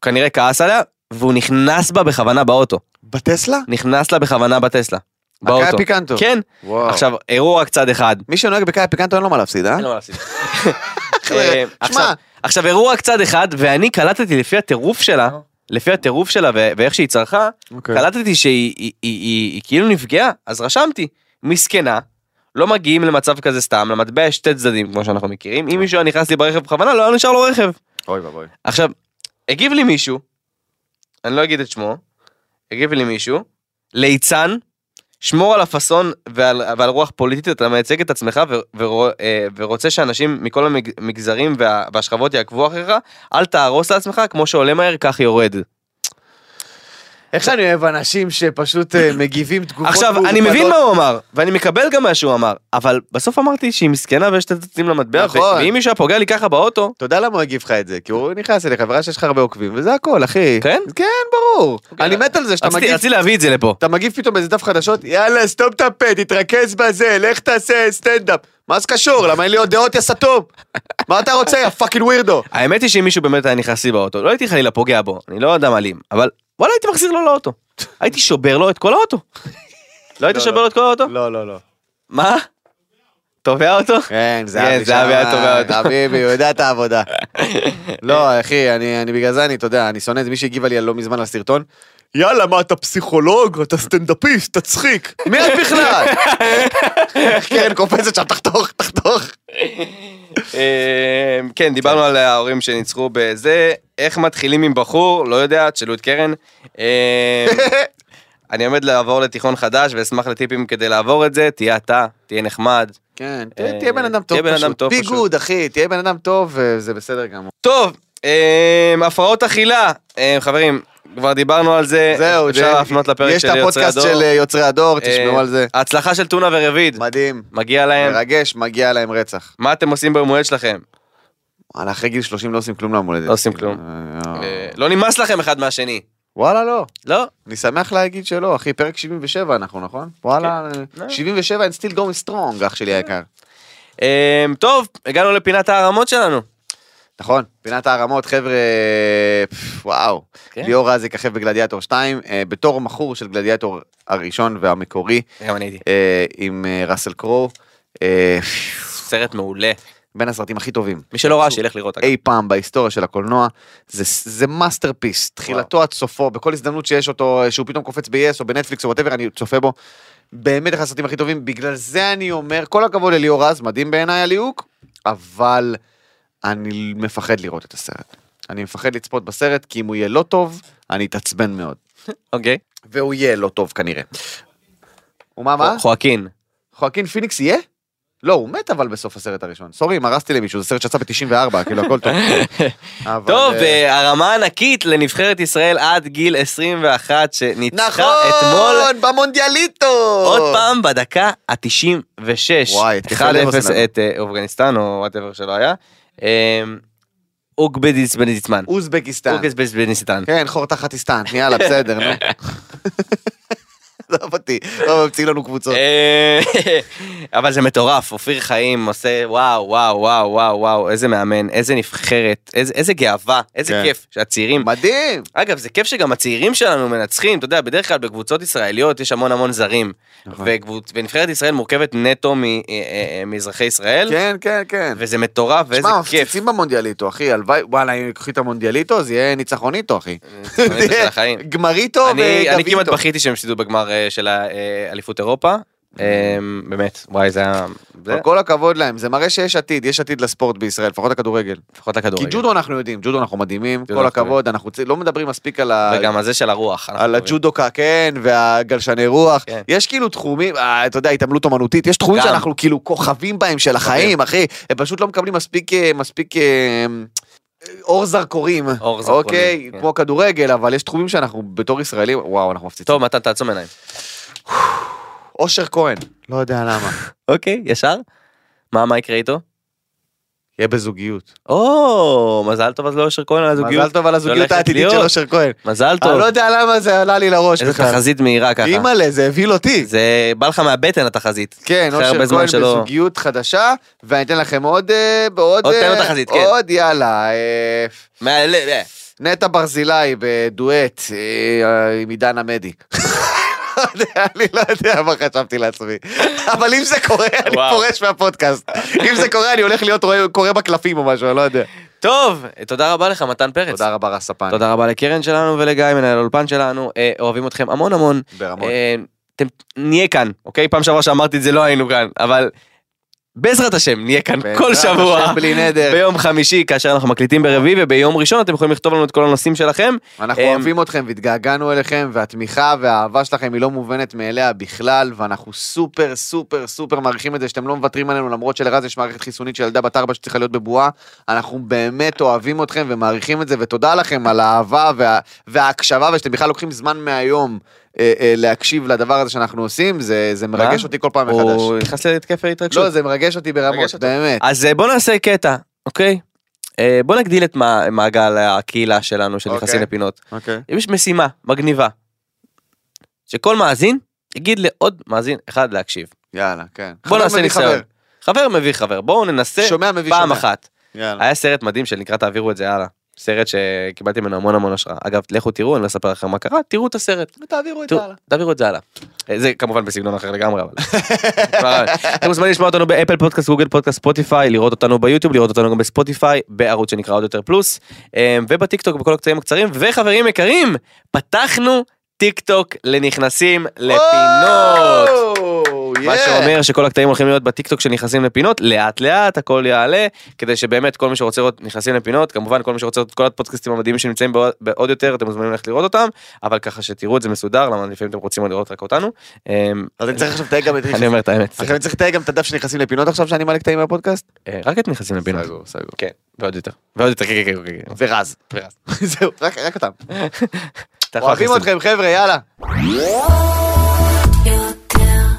[SPEAKER 3] כנראה כעס עליה, והוא נכנס בה בכוונה באוטו.
[SPEAKER 2] בטסלה?
[SPEAKER 3] נכנס לה בכוונה בטסלה.
[SPEAKER 2] הקאיה
[SPEAKER 3] באוטו.
[SPEAKER 2] פיקנטו.
[SPEAKER 3] כן.
[SPEAKER 2] וואו.
[SPEAKER 3] עכשיו, הראו רק צד אחד.
[SPEAKER 2] מי שנוהג בקאיה פיקנטו אין לו מה להפסיד, אה?
[SPEAKER 3] אין לו מה להפסיד.
[SPEAKER 2] חבר'ה,
[SPEAKER 3] אה,
[SPEAKER 2] תשמע.
[SPEAKER 3] עכשיו- עכשיו הראו רק צד אחד, ואני קלטתי לפי הטירוף שלה, לפי הטירוף שלה ו- ואיך שהיא צרכה,
[SPEAKER 2] אוקיי.
[SPEAKER 3] קלטתי שהיא היא- היא- היא- היא כאילו נפגעה, אז רשמתי, מסכנה. לא מגיעים למצב כזה סתם, למטבע יש שתי צדדים כמו שאנחנו מכירים, אם מישהו היה נכנס לי ברכב בכוונה לא היה נשאר לו רכב.
[SPEAKER 2] אוקיי. אוי ואבוי.
[SPEAKER 3] עכשיו, הגיב לי מישהו, אני לא אגיד את שמו, הגיב לי מישהו, ליצן, שמור על הפאסון ועל, ועל רוח פוליטית, אתה מייצג את עצמך ו, ורו, אה, ורוצה שאנשים מכל המג- המגזרים וה, והשכבות יעקבו אחריך, אל תהרוס לעצמך, כמו שעולה מהר כך יורד.
[SPEAKER 2] איך שאני אוהב אנשים שפשוט אה, מגיבים תגובות
[SPEAKER 3] עכשיו, אני
[SPEAKER 2] מעורפלות.
[SPEAKER 3] מבין מה הוא אמר, ואני מקבל גם מה שהוא אמר, אבל בסוף אמרתי שהיא מסכנה ויש שתי צדדים למטבע, ו-
[SPEAKER 2] נכון.
[SPEAKER 3] ואם מישהו היה פוגע לי ככה באוטו,
[SPEAKER 2] אתה יודע למה הוא הגיב לך את זה? כי הוא נכנס אליך, וראה שיש לך הרבה עוקבים, וזה הכל, אחי.
[SPEAKER 3] כן? אוקיי.
[SPEAKER 2] כן, ברור. אני מת על זה שאתה
[SPEAKER 3] רציתי
[SPEAKER 2] מגיב
[SPEAKER 3] רציתי להביא את זה לפה.
[SPEAKER 2] אתה מגיב פתאום באיזה דף חדשות, יאללה, סתום את הפה, תתרכז בזה, לך תעשה סטנדאפ. מה זה קשור? למה אין לי עוד דעות, יא סתום? מה אתה רוצה, יא פאקינג ווירדו?
[SPEAKER 3] האמת היא שאם מישהו באמת היה נכנס לי באוטו, לא הייתי חלילה פוגע בו, אני לא אדם אלים, אבל וואלה הייתי מחזיר לו לאוטו. הייתי שובר לו את כל האוטו. לא היית
[SPEAKER 2] לא,
[SPEAKER 3] שובר
[SPEAKER 2] לא.
[SPEAKER 3] לו את כל האוטו?
[SPEAKER 2] לא, לא, לא.
[SPEAKER 3] מה? תובע אותו?
[SPEAKER 2] כן,
[SPEAKER 3] כן, זהבי היה תובע אותו.
[SPEAKER 2] חביבי, הוא יודע את העבודה. לא, אחי, אני אני בגלל זה, אני, אתה יודע, אני שונא את זה. מי שהגיבה לי על לא מזמן לסרטון, יאללה, מה, אתה פסיכולוג? אתה סטנדאפיסט, תצחיק. מי את בכלל? קרן קופצת שם, תחתוך, תחתוך.
[SPEAKER 3] אה, כן, דיברנו על ההורים שניצחו בזה, איך מתחילים עם בחור, לא יודע, תשאלו את קרן. אה, אני עומד לעבור לתיכון חדש ואשמח לטיפים כדי לעבור את זה, תהיה אתה, תהיה נחמד.
[SPEAKER 2] כן,
[SPEAKER 3] אה,
[SPEAKER 2] תהיה בן אדם טוב
[SPEAKER 3] תהיה בן אדם
[SPEAKER 2] פשוט.
[SPEAKER 3] טוב, פשוט.
[SPEAKER 2] ביגוד, אחי, תהיה בן אדם טוב, וזה בסדר גמור.
[SPEAKER 3] אמ, טוב, אה, הפרעות אכילה, אה, חברים, כבר דיברנו על זה,
[SPEAKER 2] זהו,
[SPEAKER 3] אפשר
[SPEAKER 2] זה-
[SPEAKER 3] להפנות לפרק
[SPEAKER 2] יש
[SPEAKER 3] של
[SPEAKER 2] את
[SPEAKER 3] יוצרי
[SPEAKER 2] הפודקאסט
[SPEAKER 3] הדור.
[SPEAKER 2] של אה, יוצרי הדור,
[SPEAKER 3] אה,
[SPEAKER 2] תשמעו על זה.
[SPEAKER 3] ההצלחה של טונה ורביד,
[SPEAKER 2] מדהים.
[SPEAKER 3] מגיע להם.
[SPEAKER 2] מרגש, מגיע להם רצח.
[SPEAKER 3] מה אתם עושים ביום הולדת שלכם?
[SPEAKER 2] וואלה, אחרי גיל 30 לא עושים כלום ליום הולדת.
[SPEAKER 3] לא עושים כלום.
[SPEAKER 2] אה,
[SPEAKER 3] אה, לא נמאס לכם אחד מהשני.
[SPEAKER 2] וואלה, לא.
[SPEAKER 3] לא?
[SPEAKER 2] אני שמח להגיד שלא, אחי, פרק 77 אנחנו, נכון? וואלה,
[SPEAKER 3] לא.
[SPEAKER 2] 77 and still going strong, אח שלי
[SPEAKER 3] כן.
[SPEAKER 2] היקר.
[SPEAKER 3] אה, טוב, הגענו לפינת הערמות שלנו.
[SPEAKER 2] נכון, פינת הערמות, חבר'ה, פפ, וואו.
[SPEAKER 3] כן.
[SPEAKER 2] ליאור רז יככב בגלדיאטור 2, אה, בתור מכור של גלדיאטור הראשון והמקורי,
[SPEAKER 3] גם אני הייתי.
[SPEAKER 2] אה, עם אה, ראסל קרו, אה,
[SPEAKER 3] סרט מעולה.
[SPEAKER 2] בין הסרטים הכי טובים.
[SPEAKER 3] מי שלא ראה שילך לראות. אגב.
[SPEAKER 2] אי פעם בהיסטוריה של הקולנוע, זה, זה מאסטרפיס, תחילתו עד סופו, בכל הזדמנות שיש אותו, שהוא פתאום קופץ ב-yes או בנטפליקס או וואטאבר, אני צופה בו. באמת אחד הסרטים הכי טובים, בגלל זה אני אומר, כל הכבוד לליאור רז, מדהים בעיניי הליהוק, אבל אני מפחד לראות את הסרט. אני מפחד לצפות בסרט, כי אם הוא יהיה לא טוב, אני אתעצבן מאוד.
[SPEAKER 3] אוקיי.
[SPEAKER 2] והוא יהיה לא טוב כנראה. ומה, מה?
[SPEAKER 3] חואקין.
[SPEAKER 2] חואקין פיניקס יהיה? לא, הוא מת אבל בסוף הסרט הראשון. סורי אם הרסתי למישהו, זה סרט שיצא ב-94, כאילו הכל טוב. אבל,
[SPEAKER 3] טוב,
[SPEAKER 2] אה,
[SPEAKER 3] אה, הרמה ענקית לנבחרת ישראל עד גיל 21 שניצחה אה, אתמול.
[SPEAKER 2] נכון, במונדיאליטו!
[SPEAKER 3] עוד פעם בדקה ה-96.
[SPEAKER 2] וואי, התקפה
[SPEAKER 3] 1-0
[SPEAKER 2] לאברסנל.
[SPEAKER 3] את אה, אופגניסטן או וואטאבר שלא היה. אה, אוגבדיסטמן.
[SPEAKER 2] אוזבקיסטן.
[SPEAKER 3] אוגבדיסטמן.
[SPEAKER 2] כן, חור תחת איסטן, יאללה, בסדר, נו. עזוב אותי, לא ממציא לנו קבוצות.
[SPEAKER 3] אה, אבל זה מטורף, אופיר חיים עושה וואו וואו וואו וואו וואו איזה מאמן, איזה נבחרת, איזה איזה גאווה, איזה
[SPEAKER 2] כן.
[SPEAKER 3] כיף שהצעירים,
[SPEAKER 2] מדהים!
[SPEAKER 3] אגב זה כיף שגם הצעירים שלנו מנצחים, אתה יודע בדרך כלל בקבוצות ישראליות יש המון המון זרים, וקבוצ- ונבחרת ישראל מורכבת נטו מ- אה, אה, אה, מאזרחי ישראל,
[SPEAKER 2] כן, כן, כן.
[SPEAKER 3] וזה מטורף ואיזה
[SPEAKER 2] שמע,
[SPEAKER 3] כיף,
[SPEAKER 2] מפציצים במונדיאליטו, אחי, הלוואי, וואלה, אם יקחו את המונדיאליטו, זה יהיה ניצחוניטו, אחי.
[SPEAKER 3] ניצחוניטו אה, של החיים.
[SPEAKER 2] גמריטו
[SPEAKER 3] אני אני כמעט
[SPEAKER 2] וגביטו.
[SPEAKER 3] בכיתי שהם הפסידו בגמר אה, של האליפות אירופה, אה, באמת, וואי זה היה, זה-
[SPEAKER 2] אבל כל הכבוד להם, זה מראה שיש עתיד, יש עתיד לספורט בישראל, לפחות הכדורגל.
[SPEAKER 3] לפחות לכדורגל.
[SPEAKER 2] כי ג'ודו אנחנו יודעים, ג'ודו אנחנו מדהימים,
[SPEAKER 3] ג'ודו
[SPEAKER 2] כל
[SPEAKER 3] אנחנו
[SPEAKER 2] הכבוד, אנחנו צ- לא מדברים מספיק על ה...
[SPEAKER 3] וגם הזה של הרוח. אנחנו
[SPEAKER 2] על
[SPEAKER 3] קוראים.
[SPEAKER 2] הג'ודוקה, כן, והגלשני רוח.
[SPEAKER 3] כן.
[SPEAKER 2] יש כאילו תחומים, אה, אתה יודע, התעמלות אומנותית, יש תחומים
[SPEAKER 3] גם.
[SPEAKER 2] שאנחנו כאילו כוכבים בהם של החיים, אחי. הם פשוט לא מקבלים מספיק, אה, מספיק אה, אור זרקורים.
[SPEAKER 3] אור זרקורים,
[SPEAKER 2] אוקיי,
[SPEAKER 3] כן.
[SPEAKER 2] כמו כדורגל, אבל יש תחומים שאנחנו בתור ישראלים, וואו, אנחנו מפציצים.
[SPEAKER 3] טוב, מתן, תעצום עיניים.
[SPEAKER 2] אושר כהן, לא יודע למה.
[SPEAKER 3] אוקיי, ישר? מה, מה יקרה איתו?
[SPEAKER 2] יהיה בזוגיות.
[SPEAKER 3] או, מזל טוב אז לאושר כהן על הזוגיות.
[SPEAKER 2] מזל טוב על הזוגיות
[SPEAKER 3] לא הולכת
[SPEAKER 2] העתידית
[SPEAKER 3] להיות.
[SPEAKER 2] של אושר כהן.
[SPEAKER 3] מזל
[SPEAKER 2] אני
[SPEAKER 3] טוב.
[SPEAKER 2] לא יודע למה זה עלה לי לראש
[SPEAKER 3] איזה
[SPEAKER 2] בכלל.
[SPEAKER 3] תחזית מהירה ככה.
[SPEAKER 2] אימא'לה, זה הביל אותי.
[SPEAKER 3] זה בא לך מהבטן התחזית.
[SPEAKER 2] כן,
[SPEAKER 3] אחרי הרבה
[SPEAKER 2] אושר
[SPEAKER 3] זמן
[SPEAKER 2] כהן
[SPEAKER 3] שלא-
[SPEAKER 2] בזוגיות חדשה, ואני אתן לכם עוד... אה, בעוד,
[SPEAKER 3] עוד תן לו
[SPEAKER 2] אה,
[SPEAKER 3] תחזית, כן.
[SPEAKER 2] עוד, יאללה. אה,
[SPEAKER 3] מה- לא, לא.
[SPEAKER 2] נטע ברזילי בדואט אה, עם עידן עמדי. לא יודע, אני לא יודע מה חשבתי לעצמי, אבל אם זה קורה, אני
[SPEAKER 3] וואו.
[SPEAKER 2] פורש מהפודקאסט. אם זה קורה, אני הולך להיות רואה- קורא בקלפים או משהו, אני לא יודע.
[SPEAKER 3] טוב, תודה רבה לך, מתן פרץ.
[SPEAKER 2] תודה רבה, רספן.
[SPEAKER 3] תודה רבה לקרן שלנו ולגיא, מנהל האולפן שלנו. אה, אוהבים אתכם המון המון.
[SPEAKER 2] ברמות.
[SPEAKER 3] אה, אתם, נהיה כאן, אוקיי? פעם שעברה שאמרתי את זה לא היינו כאן, אבל בעזרת השם נהיה כאן כל
[SPEAKER 2] בעזרת
[SPEAKER 3] שבוע.
[SPEAKER 2] השם, בלי נדר.
[SPEAKER 3] ביום חמישי, כאשר אנחנו מקליטים ברביעי וביום ראשון אתם יכולים לכתוב לנו את כל הנושאים שלכם.
[SPEAKER 2] אנחנו
[SPEAKER 3] אמ,
[SPEAKER 2] אוהבים אתכם והתגעגענו אליכם, והתמיכה והאהבה שלכם היא לא מובנת מאליה בכלל, ואנחנו סופר סופר סופר מעריכים את זה שאתם לא מוותרים עלינו, למרות שלרז יש מערכת חיסונית של ילדה בת ארבע שצריכה להיות בבועה. אנחנו באמת אוהבים אתכם ומעריכים את זה, ותודה לכם על האהבה וה... וההקשבה, ושאתם בכלל לוקחים זמן מהיום אה, אה, להקשיב לדבר הזה שאנחנו עושים, זה, זה מרגש
[SPEAKER 3] מה?
[SPEAKER 2] אותי כל פעם מחדש.
[SPEAKER 3] הוא נכנס להתקף
[SPEAKER 2] לא,
[SPEAKER 3] ההתרגשות.
[SPEAKER 2] זה מרגש אותי
[SPEAKER 3] מרגש
[SPEAKER 2] ברמות,
[SPEAKER 3] אותי.
[SPEAKER 2] באמת.
[SPEAKER 3] אז אה, בוא נעשה קטע, אוקיי? אה, בוא נגדיל את מע- מעגל הקהילה שלנו של נכנסים
[SPEAKER 2] אוקיי.
[SPEAKER 3] לפינות.
[SPEAKER 2] אוקיי.
[SPEAKER 3] אם יש משימה מגניבה, שכל מאזין יגיד לעוד מאזין אחד להקשיב.
[SPEAKER 2] יאללה, כן.
[SPEAKER 3] בוא
[SPEAKER 2] חבר
[SPEAKER 3] נעשה
[SPEAKER 2] מביא
[SPEAKER 3] ניסיון.
[SPEAKER 2] חבר.
[SPEAKER 3] חבר מביא חבר, בואו ננסה
[SPEAKER 2] שומע מביא
[SPEAKER 3] פעם
[SPEAKER 2] שומע.
[SPEAKER 3] אחת.
[SPEAKER 2] יאללה.
[SPEAKER 3] היה סרט מדהים שנקרא תעבירו את זה הלאה. סרט שקיבלתי ממנו המון המון השראה. אגב, לכו תראו, אני לא אספר לכם מה קרה, תראו את הסרט.
[SPEAKER 2] תעבירו את זה
[SPEAKER 3] טוב,
[SPEAKER 2] הלאה.
[SPEAKER 3] תעבירו את זה הלאה. אה, זה כמובן בסגנון אחר לגמרי אבל. אבל- אתם מוזמנים לשמוע אותנו באפל פודקאסט, גוגל פודקאסט, ספוטיפיי, לראות אותנו ביוטיוב, לראות אותנו גם בספוטיפיי, בערוץ שנקרא עוד יותר פלוס, אה, ובטיקטוק בכל הקטעים הקצרים, וחברים יקרים, פתחנו טיקטוק לנכנסים לפינות.
[SPEAKER 2] או,
[SPEAKER 3] מה
[SPEAKER 2] Oh, yeah.
[SPEAKER 3] שאומר שכל הקטעים הולכים להיות בטיקטוק שנכנסים לפינות, לאט לאט הכל יעלה, כדי שבאמת כל מי שרוצה לראות נכנסים לפינות, כמובן כל מי שרוצה לראות את כל הפודקאסטים המדהימים שנמצאים בעוד- בעוד יותר, אתם מוזמנים ללכת לראות אותם, אבל ככה שתראו את זה מסודר, למה לפעמים אתם רוצים לראות רק אותנו. אמ,
[SPEAKER 2] אז אני צריך עכשיו לתייג גם את
[SPEAKER 3] אני אומר את האמת,
[SPEAKER 2] עכשיו אני צריך לתייג גם את הדף שנכנסים לפינות עכשיו שאני מעלה קטעים מהפודקאסט?
[SPEAKER 3] אה, רק את נכנסים לפינות.
[SPEAKER 2] סגור, סגור.
[SPEAKER 3] כן, ועוד יותר. ועוד יותר, כן, כן, כן, כן, כן.
[SPEAKER 2] ורז.
[SPEAKER 3] ורז.
[SPEAKER 2] זהו, רק רק אותם.
[SPEAKER 3] אתה יכול
[SPEAKER 2] אוהבים
[SPEAKER 3] להכניס כן. את זה.
[SPEAKER 2] אתכם, חבר'ה, יאללה.